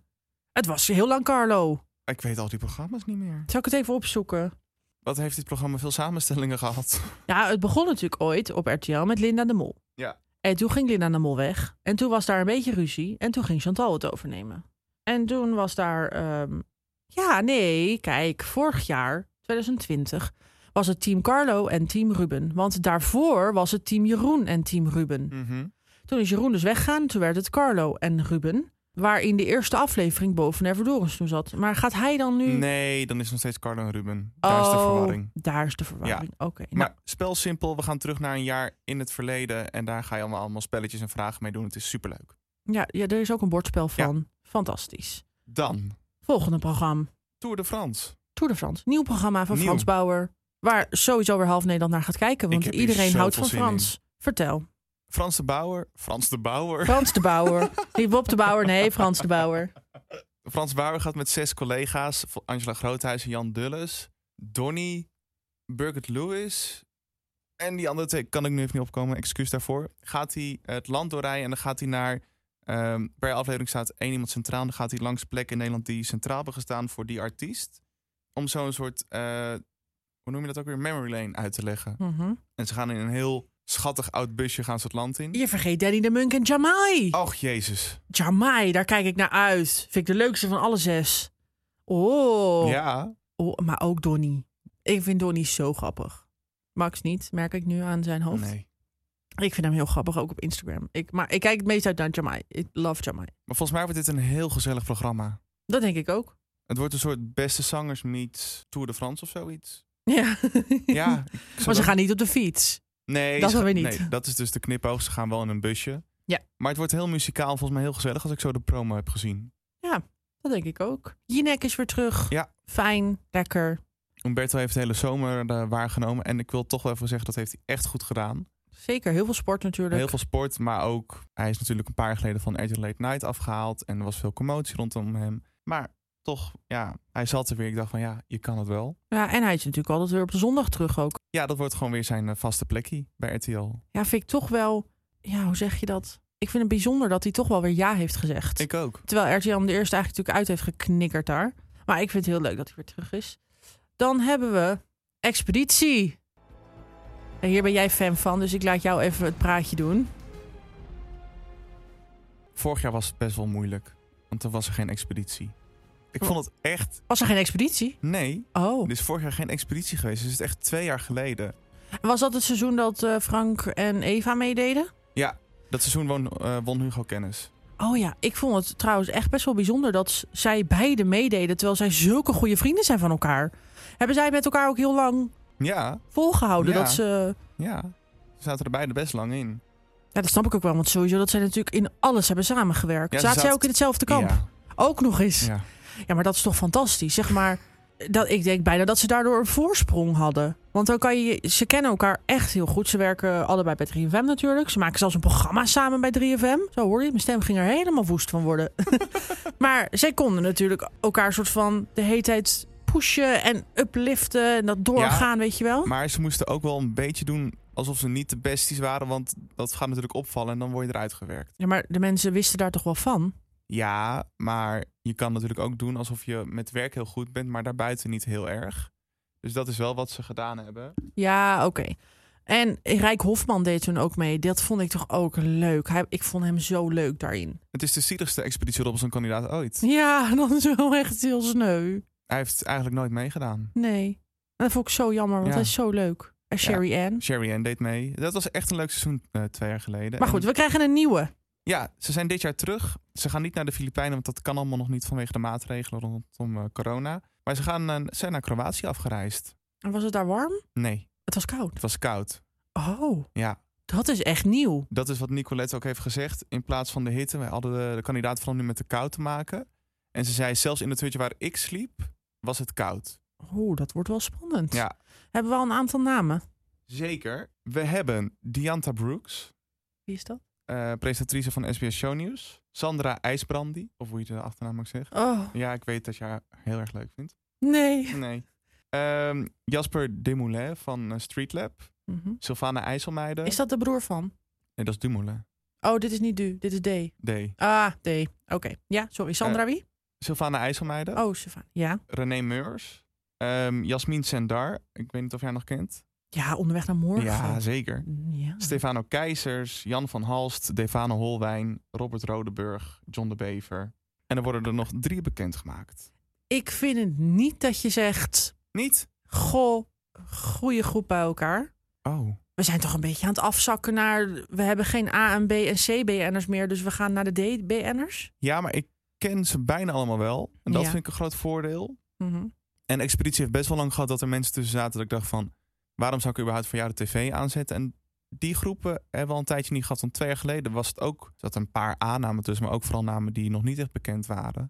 S2: het was heel lang Carlo.
S1: Ik weet al die programma's niet meer.
S2: Zal ik het even opzoeken?
S1: Wat heeft dit programma veel samenstellingen gehad?
S2: Ja, het begon natuurlijk ooit op RTL met Linda de Mol.
S1: Ja.
S2: En toen ging Linda de Mol weg. En toen was daar een beetje ruzie. En toen ging Chantal het overnemen. En toen was daar... ehm, Ja, nee, kijk, vorig jaar, 2020, was het team Carlo en team Ruben. Want daarvoor was het team Jeroen en team Ruben.
S1: Mhm.
S2: Toen is Jeroen dus weggegaan. Toen werd het Carlo en Ruben. Waarin de eerste aflevering boven Nervodorens toen zat. Maar gaat hij dan
S1: Hm.
S2: nu...
S1: Nee, dan is nog steeds Carlo en Ruben. Daar is de
S2: Oh,
S1: verwarring.
S2: Daar is de verwarring. Oké. nou,
S1: Maar spel simpel, we gaan terug naar een jaar in het verleden. En daar ga je allemaal, allemaal spelletjes en vragen mee doen. Het is superleuk.
S2: Nou, ja, ja, er is ook een bordspel van. Fantastisch.
S1: Dan,
S2: Volgende programma.
S1: Tour de France.
S2: Tour de France. Nieuw programma van
S1: Nieuw.
S2: Frans Bauer. Waar sowieso weer half Nederland naar gaat kijken. Want
S1: Ik heb hier
S2: iedereen houdt van
S1: zoveel zin
S2: Frans. Vertel.
S1: Frans de Bauer. Frans de Bauer.
S2: Frans de
S1: *laughs*
S2: Bauer. Niet Bob de Bauer. Nee, Frans de Bauer.
S1: Frans Bauer gaat met zes collega's. Angela Groothuis en Jan Dulles. Donny. Birgit Lewis. En die andere twee kan ik nu even niet opkomen. Excuus daarvoor. Gaat hij het land doorrijden en dan gaat hij naar... ehm, per aflevering staat één iemand centraal. En dan gaat hij langs plekken in Nederland die centraal hebben gestaan voor die artiest. Om zo'n soort... eh, hoe noem je dat ook weer? Memory lane uit te leggen.
S2: Mhm.
S1: En ze gaan in een heel schattig oud busje gaan ze het land in.
S2: Je vergeet Danny de Munk en Jamai.
S1: Och, jezus.
S2: Jamai, daar kijk ik naar uit. Vind ik de leukste van alle zes. Oh.
S1: Ja.
S2: Oh, maar ook Donnie. Ik vind Donnie zo grappig. Max niet, merk ik nu aan zijn hoofd.
S1: Nee.
S2: Ik vind hem heel grappig, ook op Instagram. Ik, maar ik kijk het meest uit naar Jamai. Ik love Jamai.
S1: Maar volgens mij wordt dit een heel gezellig programma.
S2: Dat denk ik ook.
S1: Het wordt een soort beste zangers meets Tour de France of zoiets.
S2: *laughs* Ja.
S1: Ja, ik zou
S2: maar ze
S1: dat-
S2: gaan niet op de fiets.
S1: Nee,
S2: Dat
S1: ze
S2: dan
S1: gaan-
S2: weer niet.
S1: nee, dat is dus de knipoog. Ze gaan wel in een busje.
S2: Ja.
S1: Maar het wordt heel muzikaal, volgens mij heel gezellig als ik zo de promo heb gezien.
S2: Dat denk ik ook. Jinek is weer terug.
S1: Ja.
S2: Fijn, lekker.
S1: Umberto heeft de hele zomer eh, waargenomen. En ik wil toch wel even zeggen, dat heeft hij echt goed gedaan.
S2: Zeker heel veel sport natuurlijk.
S1: Heel veel sport, maar ook... Hij is natuurlijk een paar jaar geleden van Edge Late Night afgehaald. En er was veel commotie rondom hem. Maar toch, ja, hij zat er weer. Ik dacht van, ja, je kan het wel.
S2: Ja, en hij is natuurlijk altijd weer op zondag terug ook.
S1: Ja, dat wordt gewoon weer zijn eh, vaste plekje bij RTL.
S2: Ja, vind ik toch wel... Ja, hoe zeg je dat? Ik vind het bijzonder dat hij toch wel weer ja heeft gezegd.
S1: Ik ook.
S2: Terwijl RTL hem de eerste eigenlijk natuurlijk uit heeft geknikkerd daar. Maar ik vind het heel leuk dat hij weer terug is. Dan hebben we Expeditie. En hier ben jij fan van, dus ik laat jou even het praatje doen.
S1: Vorig jaar was het best wel moeilijk. Want toen was er geen expeditie. Ik vond het echt...
S2: Was er geen expeditie?
S1: Nee,
S2: Oh.
S1: er is vorig jaar geen expeditie geweest. Dus het is echt twee jaar geleden.
S2: Was dat het seizoen dat eh, Frank en Eva meededen?
S1: Dat seizoen won, eh, won Hugo Kennis.
S2: Oh ja, ik vond het trouwens echt best wel bijzonder dat s- zij beide meededen. Terwijl zij zulke goede vrienden zijn van elkaar. Hebben zij met elkaar ook heel lang
S1: Ja,
S2: volgehouden?
S1: Ja.
S2: Dat ze...
S1: ja. Ze zaten er beide best lang in.
S2: Ja, dat snap ik ook wel. Want sowieso dat zij natuurlijk in alles hebben samengewerkt.
S1: Ja, ze
S2: Zaten zij
S1: zat-
S2: ook in hetzelfde kamp?
S1: Ja,
S2: Ook nog eens.
S1: ja.
S2: Ja, maar dat is toch fantastisch. Zeg maar, dat, ik denk bijna dat ze daardoor een voorsprong hadden. Want dan kan je, ze kennen elkaar echt heel goed. Ze werken allebei bij 3FM natuurlijk. Ze maken zelfs een programma samen bij 3FM. Zo hoor je, mijn stem ging er helemaal woest van worden. maar zij konden natuurlijk elkaar soort van de hele tijd pushen en upliften. En dat doorgaan, weet je wel.
S1: Maar ze moesten ook wel een beetje doen alsof ze niet de besties waren. Want dat gaat natuurlijk opvallen en dan word je eruit gewerkt.
S2: Ja, maar de mensen wisten daar toch wel van?
S1: Ja, maar je kan natuurlijk ook doen alsof je met werk heel goed bent, maar daarbuiten niet heel erg. Dus dat is wel wat ze gedaan hebben.
S2: Ja, oké. En Rijk Hofman deed toen ook mee. Dat vond ik toch ook leuk. Hij, ik vond hem zo leuk daarin.
S1: Het is de zieligste Expeditie Robinson kandidaat ooit.
S2: *laughs* Ja, dat is wel echt heel sneu.
S1: Hij heeft eigenlijk nooit meegedaan.
S2: Nee. En dat vond ik zo jammer, want
S1: Ja.
S2: hij is zo leuk. En Sherry Ann.
S1: Sherry Ann deed mee. Dat was echt een leuk seizoen eh, twee jaar geleden.
S2: Maar
S1: En-
S2: goed, we krijgen een nieuwe.
S1: Ja, ze zijn dit jaar terug. Ze gaan niet naar de Filipijnen, want dat kan allemaal nog niet vanwege de maatregelen rondom eh, corona. Maar ze gaan, eh, zijn naar Kroatië afgereisd.
S2: En was het daar warm?
S1: Nee,
S2: Het was koud.
S1: het was koud.
S2: Oh,
S1: Ja,
S2: dat is echt nieuw.
S1: dat is wat Nicolette ook heeft gezegd. In plaats van de hitte, wij hadden de, de kandidaat van nu met de kou te maken. En ze zei, zelfs in het hutje waar ik sliep, was het koud.
S2: Oh, dat wordt wel spannend.
S1: Ja.
S2: Hebben we al een aantal namen?
S1: Zeker. We hebben Dianta Brooks,
S2: Wie is dat?
S1: eh, presentatrice van SBS Show News. Sandra IJsbrandy, of hoe je de achternaam ook zegt.
S2: Oh,
S1: Ja, ik weet dat je haar heel erg leuk vindt.
S2: nee.
S1: Nee. Ehm, Jasper Demoulin van eh, Streetlab.
S2: Mhm.
S1: Sylvana IJsselmeijden.
S2: Is dat de broer van?
S1: Nee, dat is Dumoulin.
S2: Oh, dit is niet Du, dit is D.
S1: D.
S2: Ah, D. Oké. Ja, sorry. Sandra
S1: Eh,
S2: wie?
S1: Sylvana IJsselmeijden.
S2: Oh, Stefan. Ja.
S1: René Meurs. Ehm Jasmin Sendar. Ik weet niet of jij haar nog kent.
S2: Ja, onderweg naar morgen.
S1: Ja, zeker.
S2: Ja.
S1: Stefano Keizers, Jan van Halst, Devane Holwijn, Robert Rodeburg, John de Bever. En er worden er nog drie bekendgemaakt.
S2: Ik vind het niet dat je zegt...
S1: Niet?
S2: Goh, goede groep bij elkaar.
S1: Oh.
S2: we zijn toch een beetje aan het afzakken naar. We hebben geen A en B en C BN'ers meer, dus we gaan naar de D BN'ers.
S1: Ja, maar ik ken ze bijna allemaal wel. En dat
S2: Ja.
S1: vind ik een groot voordeel. En Expeditie heeft best wel lang gehad dat er mensen tussen zaten dat ik dacht van... waarom zou ik überhaupt voor jou de tv aanzetten? En die groepen hebben we al een tijdje niet gehad. Want twee jaar geleden was het ook... Er zaten een paar aannamen tussen, maar ook vooral namen die nog niet echt bekend waren.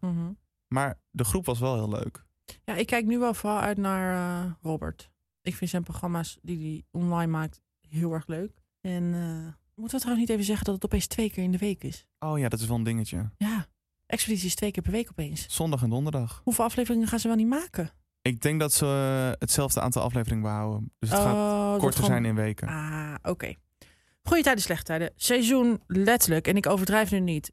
S1: Maar de groep was wel heel leuk.
S2: Ja, ik kijk nu wel vooral uit naar eh, Robert. Ik vind zijn programma's die hij online maakt heel erg leuk. En eh, moeten we trouwens niet even zeggen dat het opeens twee keer in de week is?
S1: Oh ja, dat is wel een dingetje.
S2: Ja, Expeditie is twee keer per week opeens.
S1: Zondag en donderdag.
S2: Hoeveel afleveringen gaan ze wel niet maken?
S1: Ik denk dat ze eh, hetzelfde aantal afleveringen behouden. Dus het gaat
S2: Oh, dat
S1: korter
S2: gewoon-
S1: zijn in weken.
S2: Ah, oké. Goede tijden, slechte tijden. Seizoen letterlijk, en ik overdrijf nu niet,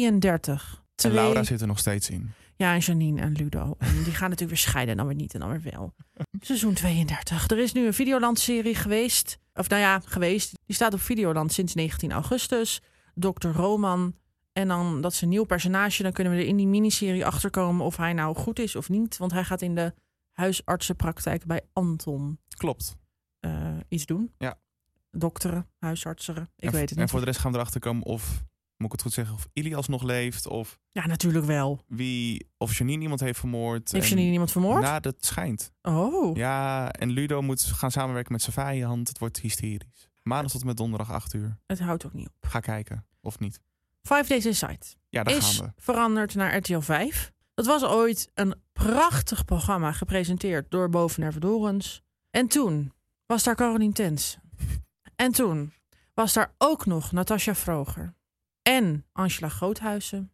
S2: 32.
S1: En Laura
S2: Twee-
S1: zit er nog steeds in.
S2: Ja, en Janine en Ludo. En die gaan natuurlijk weer scheiden en dan weer niet en dan weer wel. Seizoen 32. Er is nu een Videoland-serie geweest. Of nou ja, geweest. Die staat op Videoland sinds 19 augustus. Dr. Roman. En dan, dat is een nieuw personage. Dan kunnen we er in die miniserie achterkomen of hij nou goed is of niet. Want hij gaat in de huisartsenpraktijk bij Anton
S1: Klopt.
S2: eh, iets doen.
S1: Ja.
S2: Dokteren, huisartseren. Ik
S1: en,
S2: weet het
S1: en
S2: niet.
S1: voor de rest gaan we erachter komen of moet ik het goed zeggen, of Ilias nog leeft. Of
S2: Ja, natuurlijk wel.
S1: wie, of Janine iemand heeft vermoord.
S2: Heeft
S1: En-
S2: Janine iemand vermoord?
S1: Nou, dat schijnt.
S2: oh.
S1: Ja, en Ludo moet gaan samenwerken met zijn vijand. Het wordt hysterisch. Maandag tot en met donderdag 8 uur.
S2: Het houdt ook niet op.
S1: Ga kijken, of niet.
S2: Five Days Inside
S1: Ja, daar
S2: is
S1: gaan we.
S2: veranderd naar RTL 5. Dat was ooit een prachtig programma gepresenteerd door Bovener Verdorens. En toen was daar Caroline Tens. En toen was daar ook nog Natasja Vroger. En Angela Groothuizen.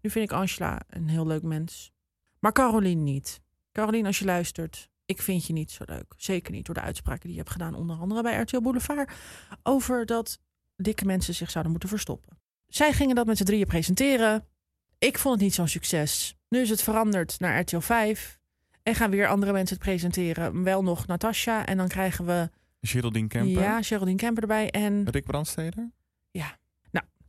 S2: Nu vind ik Angela een heel leuk mens. Maar Caroline niet. Caroline, als je luistert, ik vind je niet zo leuk. Zeker niet door de uitspraken die je hebt gedaan, onder andere bij RTL Boulevard. Over dat dikke mensen zich zouden moeten verstoppen. Zij gingen dat met z'n drieën presenteren. Ik vond het niet zo'n succes. Nu is het veranderd naar RTL 5. En gaan weer andere mensen het presenteren. Wel nog Natasja. En dan krijgen we
S1: Geraldine Kemper.
S2: ja, Geraldine Kemper erbij. En
S1: Rick Brandsteder.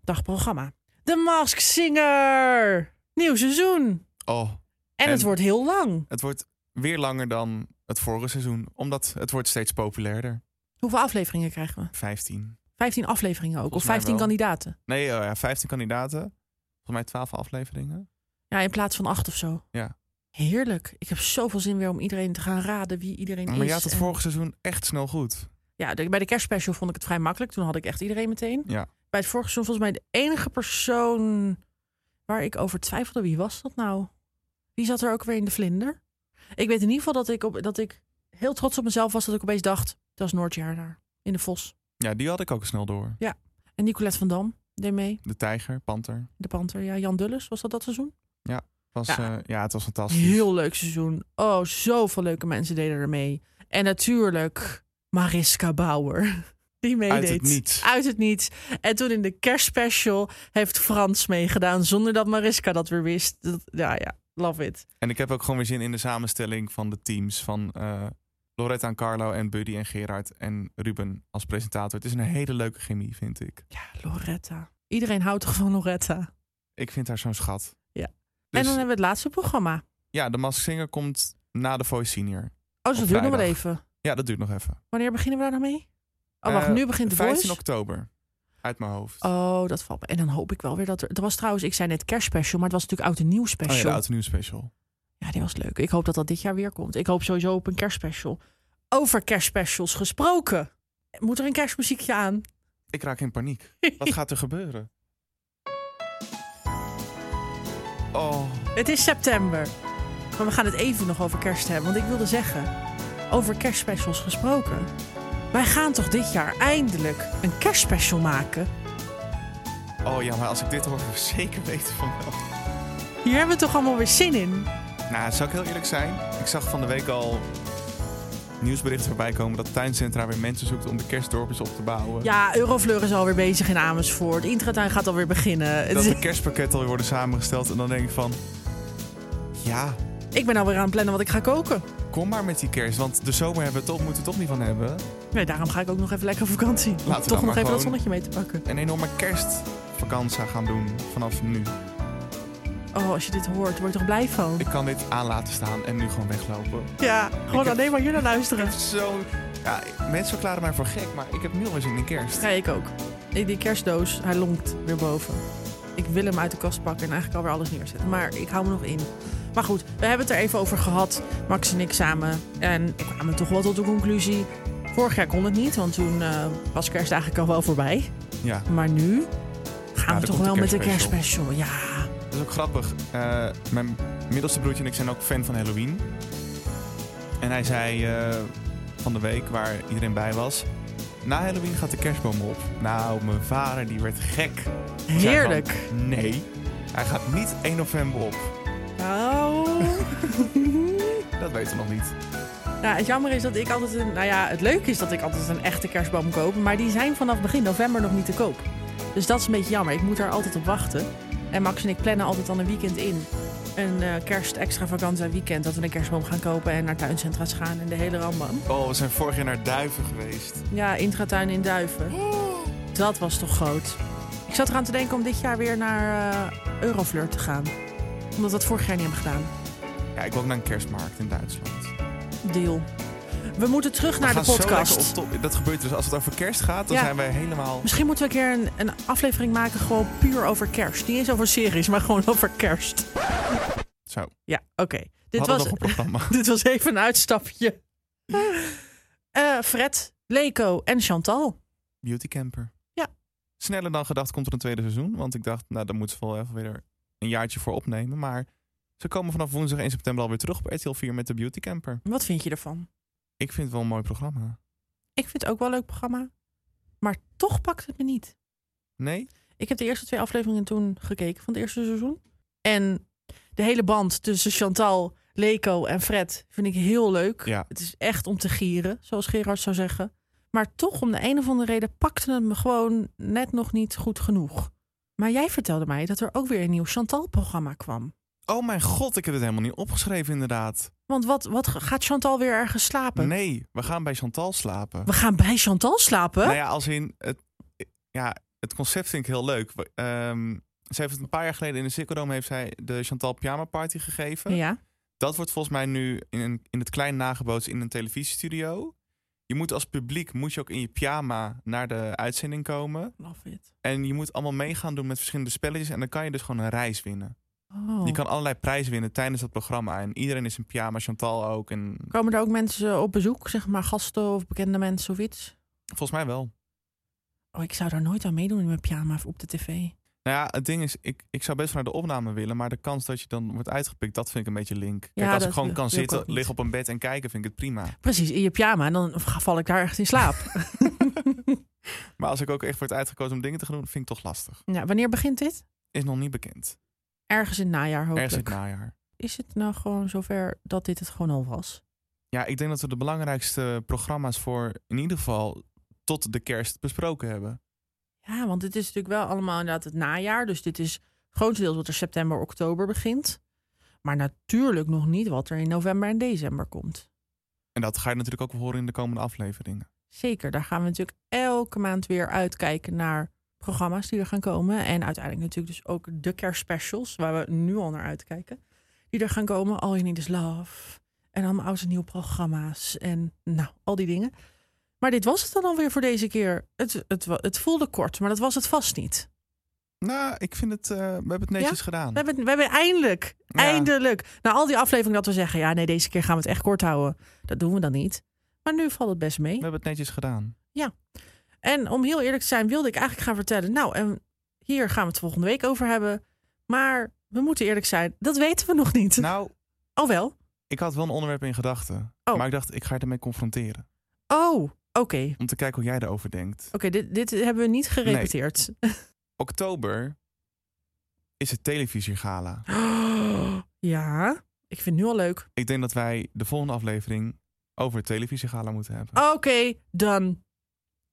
S2: dagprogramma. The Mask Singer! Nieuw seizoen.
S1: Oh,
S2: En,
S1: En-
S2: het wordt heel lang.
S1: het wordt weer langer dan het vorige seizoen. Omdat het wordt steeds populairder.
S2: Hoeveel afleveringen krijgen we?
S1: 15.
S2: 15 afleveringen ook.
S1: Volgens
S2: of
S1: mij
S2: 15
S1: wel.
S2: kandidaten.
S1: Nee, oh ja, 15 kandidaten. Volgens mij 12 afleveringen.
S2: Ja, in plaats van acht of zo.
S1: Ja.
S2: Heerlijk. Ik heb zoveel zin weer om iedereen te gaan raden wie iedereen is. eh,
S1: Maar je had het
S2: en-
S1: vorige seizoen echt snel goed.
S2: Ja, de- bij de kerstspecial vond ik het vrij makkelijk. Toen had ik echt iedereen meteen.
S1: Ja.
S2: Bij het vorige seizoen volgens mij de enige persoon waar ik over twijfelde. Wie was dat nou? Wie zat er ook weer in de vlinder? Ik weet in ieder geval dat ik, op, dat ik heel trots op mezelf was dat ik opeens dacht... dat is Noordjaarnaar in de Vos.
S1: Ja, die had ik ook snel door.
S2: En Nicolette van Dam deed mee,
S1: De tijger, panter.
S2: de panter. Ja, Jan Dulles, was dat dat seizoen?
S1: Was,
S2: Ja.
S1: ja. ja, het was fantastisch.
S2: Heel leuk seizoen. Oh, zoveel leuke mensen deden er mee. En natuurlijk Mariska Bauer. *laughs* Die meedeed.
S1: Uit het niets.
S2: Uit het niets. En toen in de kerstspecial heeft Frans meegedaan. Zonder dat Mariska dat weer wist. Dat, ja, ja. Love it.
S1: En ik heb ook gewoon weer zin in de samenstelling van de teams van eh, Loretta en Carlo en Buddy en Gerard en Ruben als presentator. Het is een hele leuke chemie, vind ik.
S2: Ja, Loretta. Iedereen houdt toch van Loretta.
S1: Ik vind haar zo'n schat.
S2: Ja.
S1: Dus,
S2: En dan hebben we het laatste programma.
S1: ja, de Mask Singer komt na de Voice Senior.
S2: Oh, dus
S1: Op
S2: dat duurt nog wel
S1: vrijdag.
S2: even.
S1: Ja, dat duurt nog even.
S2: Wanneer beginnen we daar nou mee? Oh, wacht.
S1: Eh,
S2: nu begint de
S1: 15
S2: voice.
S1: oktober. Uit mijn hoofd.
S2: Oh, dat valt me. En dan hoop ik wel weer dat er... Dat was trouwens, ik zei net kerstspecial, maar het was natuurlijk oud en nieuw
S1: Oh ja,
S2: special.
S1: de Oud en Nieuw Special.
S2: Ja, die was leuk. Ik hoop dat dat dit jaar weer komt. Ik hoop sowieso op een kerstspecial. Over kerstspecials gesproken. Moet er een kerstmuziekje aan?
S1: Ik raak in
S2: *laughs*
S1: paniek. Wat gaat er gebeuren? Oh,
S2: Het is september. Maar we gaan het even nog over kerst hebben. Want ik wilde zeggen, over kerstspecials gesproken. Wij gaan toch dit jaar eindelijk een kerstspecial maken?
S1: oh ja, maar als ik dit hoor, *laughs* wil ik zeker weten van wel.
S2: Hier hebben we toch allemaal weer zin in?
S1: Nou, zou ik heel eerlijk zijn? Ik zag van de week al nieuwsberichten voorbij komen dat tuincentra weer mensen zoekt om de kerstdorpjes op te bouwen.
S2: Ja, Eurofleur is alweer bezig in Amersfoort. Intratuin gaat alweer beginnen.
S1: Dat de kerstpakketten alweer worden samengesteld. En dan denk ik van, ja,
S2: Ik ben alweer aan het plannen wat ik ga koken.
S1: kom maar met die kerst. Want de zomer hebben we toch, moeten we toch niet van hebben.
S2: Nee, daarom ga ik ook nog even lekker op vakantie. Om
S1: dan
S2: toch
S1: maar
S2: nog even dat
S1: gewoon-
S2: zonnetje mee te pakken.
S1: Een enorme kerstvakantie gaan doen vanaf nu.
S2: Oh, als je dit hoort, word je toch blij van?
S1: Ik kan dit aan laten staan en nu gewoon weglopen.
S2: *laughs* Ja, gewoon
S1: Ik heb-
S2: alleen maar hier naar luisteren.
S1: Zo, ja, mensen verklaren mij voor gek, maar ik heb nu al eens in de kerst.
S2: Ja, ik ook. Ik- Die kerstdoos, hij lonkt weer boven. Ik wil hem uit de kast pakken en eigenlijk alweer alles neerzetten. Maar ik hou me nog in. Maar goed, we hebben het er even over gehad. Max en ik samen. En ik kwam toch wel tot de conclusie. Vorig jaar kon het niet, want toen eh, was kerst eigenlijk al wel voorbij.
S1: Ja.
S2: Maar nu
S1: Ja,
S2: gaan
S1: er
S2: we toch
S1: komt
S2: wel
S1: een
S2: met de
S1: kerstspecial.
S2: kerstspecial. Ja,
S1: Dat is ook grappig. Eh, mijn middelste broertje en ik zijn ook fan van Halloween. En hij zei eh, van de week, waar iedereen bij was... Na Halloween gaat de kerstboom op. Nou, mijn vader die werd gek. Hij zei
S2: heerlijk.
S1: van, nee, hij gaat niet 1 november op.
S2: Oh. Nou...
S1: Dat weten we nog niet.
S2: Nou, het jammer is dat ik altijd een. Nou ja, het leuke is dat ik altijd een echte kerstboom koop. Maar die zijn vanaf begin november nog niet te koop. Dus dat is een beetje jammer. Ik moet daar altijd op wachten. En Max en ik plannen altijd dan een weekend in. Een eh kerst extra vakantie weekend. Dat we een kerstboom gaan kopen en naar tuincentra's gaan en de hele rambam.
S1: Oh, we zijn vorig jaar naar Duiven geweest.
S2: Ja, intratuin in Duiven. Dat was toch groot. Ik zat eraan te denken om dit jaar weer naar eh Eurofleur te gaan. Omdat we dat vorig jaar niet hebben gedaan.
S1: Ja, ik wil ook naar een kerstmarkt in Duitsland.
S2: Deal. We moeten terug naar
S1: We
S2: de
S1: gaan zo
S2: podcast.
S1: lekker op top. Dat gebeurt dus als het over kerst gaat, dan
S2: Ja.
S1: zijn wij helemaal...
S2: Misschien moeten we een keer een, een aflevering maken gewoon puur over kerst. Niet eens over series, maar gewoon over kerst.
S1: Zo, we
S2: Ja, oké. Dit,
S1: hadden
S2: was,
S1: nog een programma.
S2: dit was even een uitstapje. Eh, Fred, Leko en Chantal.
S1: Beauty Camper.
S2: Ja.
S1: Sneller dan gedacht komt er een tweede seizoen. Want ik dacht, nou, daar moeten ze wel even weer een jaartje voor opnemen. Maar ze komen vanaf woensdag 1 september alweer terug op RTL 4 met de Beauty Camper.
S2: Wat vind je ervan?
S1: Ik vind het wel een mooi programma.
S2: Ik vind het ook wel een leuk programma. Maar toch pakt het me niet.
S1: Nee?
S2: Ik heb de eerste twee afleveringen toen gekeken van het eerste seizoen. En de hele band tussen Chantal, Leko en Fred vind ik heel leuk.
S1: Ja.
S2: Het is echt om te gieren, zoals Gerard zou zeggen. Maar toch, om de een of andere reden, pakte het me gewoon net nog niet goed genoeg. Maar jij vertelde mij dat er ook weer een nieuw Chantal-programma kwam.
S1: Oh mijn god, ik heb het helemaal niet opgeschreven inderdaad.
S2: Want wat, wat gaat Chantal weer ergens slapen?
S1: Nee, we gaan bij Chantal slapen.
S2: We gaan bij Chantal slapen?
S1: Nou ja, als in... Het, ja, het concept vind ik heel leuk. We- ehm, ze heeft het een paar jaar geleden in de Ziggo Dome heeft zij de Chantal Pyjama Party gegeven.
S2: ja.
S1: Dat wordt volgens mij nu in, een- in het klein nagebootst in een televisiestudio. Je moet als publiek moet je ook in je pyjama naar de uitzending komen.
S2: Love it.
S1: En je moet allemaal meegaan doen met verschillende spelletjes. En dan kan je dus gewoon een reis winnen.
S2: Oh.
S1: Je kan allerlei prijzen winnen tijdens dat programma. En iedereen is in pyjama, Chantal ook. En
S2: Komen er ook mensen op bezoek, zeg maar gasten of bekende mensen of iets?
S1: volgens mij wel.
S2: Oh, ik zou daar nooit aan meedoen in mijn pyjama op de tv.
S1: Nou ja, het ding is, ik, ik zou best wel naar de opname willen. Maar de kans dat je dan wordt uitgepikt, dat vind ik een beetje link. Kijk,
S2: Ja,
S1: als ik
S2: dat
S1: gewoon
S2: wil-
S1: kan
S2: wil ik
S1: zitten,
S2: ook niet.
S1: liggen op een bed en kijken, vind ik het prima.
S2: Precies, in je pyjama. En dan val ik daar echt in *laughs* slaap.
S1: Maar als ik ook echt word uitgekozen om dingen te gaan doen, vind ik het toch lastig.
S2: nou, wanneer begint dit?
S1: Is nog niet bekend.
S2: Ergens in het najaar hopelijk.
S1: Ergens in het najaar.
S2: Is het nou gewoon zover dat dit het gewoon al was?
S1: Ja, ik denk dat we de belangrijkste programma's voor in ieder geval tot de kerst besproken hebben.
S2: Ja, want het is natuurlijk wel allemaal inderdaad het najaar. Dus dit is grotendeels wat er september, oktober begint. Maar natuurlijk nog niet wat er in november en december komt.
S1: En dat ga je natuurlijk ook wel horen in de komende afleveringen.
S2: Zeker, daar gaan we natuurlijk elke maand weer uitkijken naar programma's die er gaan komen. En uiteindelijk natuurlijk dus ook de kerstspecials, waar we nu al naar uitkijken. Die er gaan komen, All You Need Is Love. En allemaal oud en nieuw programma's en nou, al die dingen. Maar dit was het dan alweer voor deze keer. Het, het, wa- het voelde kort, maar dat was het vast niet.
S1: Nou, ik vind het, eh, we hebben het netjes gedaan.
S2: We hebben, we hebben eindelijk,
S1: Ja.
S2: eindelijk, na al die afleveringen dat we zeggen... ja, nee, deze keer gaan we het echt kort houden. Dat doen we dan niet. Maar nu valt het best mee.
S1: We hebben het netjes gedaan.
S2: En om heel eerlijk te zijn, wilde ik eigenlijk gaan vertellen. Nou, en hier gaan we het volgende week over hebben. Maar we moeten eerlijk zijn, dat weten we nog niet.
S1: Nou,
S2: Oh wel.
S1: ik had wel een onderwerp in gedachten.
S2: Oh.
S1: Maar ik dacht, ik ga je ermee confronteren.
S2: Oh, oké. Oké,
S1: Om te kijken hoe jij erover denkt.
S2: dit, dit hebben we niet gerepeteerd.
S1: Oktober is het televisiergala.
S2: *gasps* Ja, ik vind het nu al leuk.
S1: Ik denk dat wij de volgende aflevering over het televisiegala moeten hebben.
S2: Oké, dan.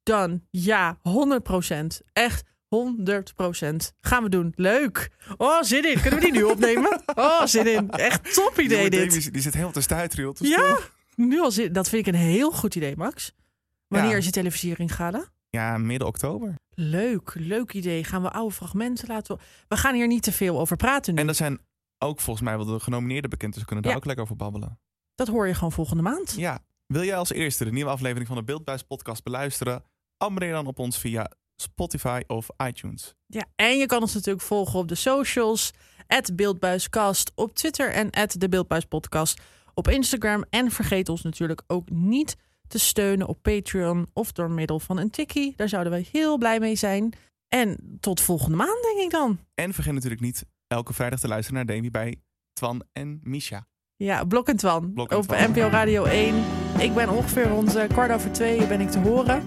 S2: Dan. Ja, 100%. Echt 100%. Gaan we doen. Leuk. Oh, zin in. Kunnen we die nu opnemen? Oh, zin in. Echt top idee
S1: Jongen,
S2: dit.
S1: Davy, Die zit helemaal te stuitriel. te
S2: Ja,
S1: storen.
S2: nu al zit, dat vind ik een heel goed idee, Max. Wanneer
S1: Ja.
S2: is je televisiering gala?
S1: Ja, midden oktober.
S2: Leuk, leuk idee. Gaan we oude fragmenten laten. We gaan hier niet te veel over praten nu.
S1: En dat zijn ook volgens mij wel de genomineerden bekend, dus we kunnen daar
S2: Mhm. Ja.
S1: ook lekker over babbelen.
S2: Dat hoor je gewoon volgende maand.
S1: Ja. Wil jij als eerste de nieuwe aflevering van de Beeldbuis podcast beluisteren? Abonneer dan op ons via Spotify of iTunes.
S2: Ja, en je kan ons natuurlijk volgen op de socials. Beeldbuiskast op Twitter en de Beeldbuispodcast op Instagram. En vergeet ons natuurlijk ook niet te steunen op Patreon of door middel van een tikkie. Daar zouden we heel blij mee zijn. En tot volgende maand, denk ik dan.
S1: En vergeet natuurlijk niet elke vrijdag te luisteren naar Demi bij Twan en Misha.
S2: Ja, Blok en Twan.
S1: Blok en
S2: op
S1: Twan.
S2: NPO Radio 1. Ik ben ongeveer rond eh, kwart over twee ben ik te horen.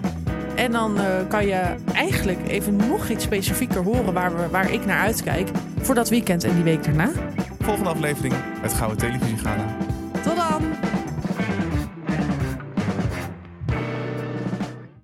S2: En dan eh, kan je eigenlijk even nog iets specifieker horen waar, we, waar ik naar uitkijk. Voor dat weekend en die week daarna.
S1: Volgende aflevering, het Gouden Televisiegala.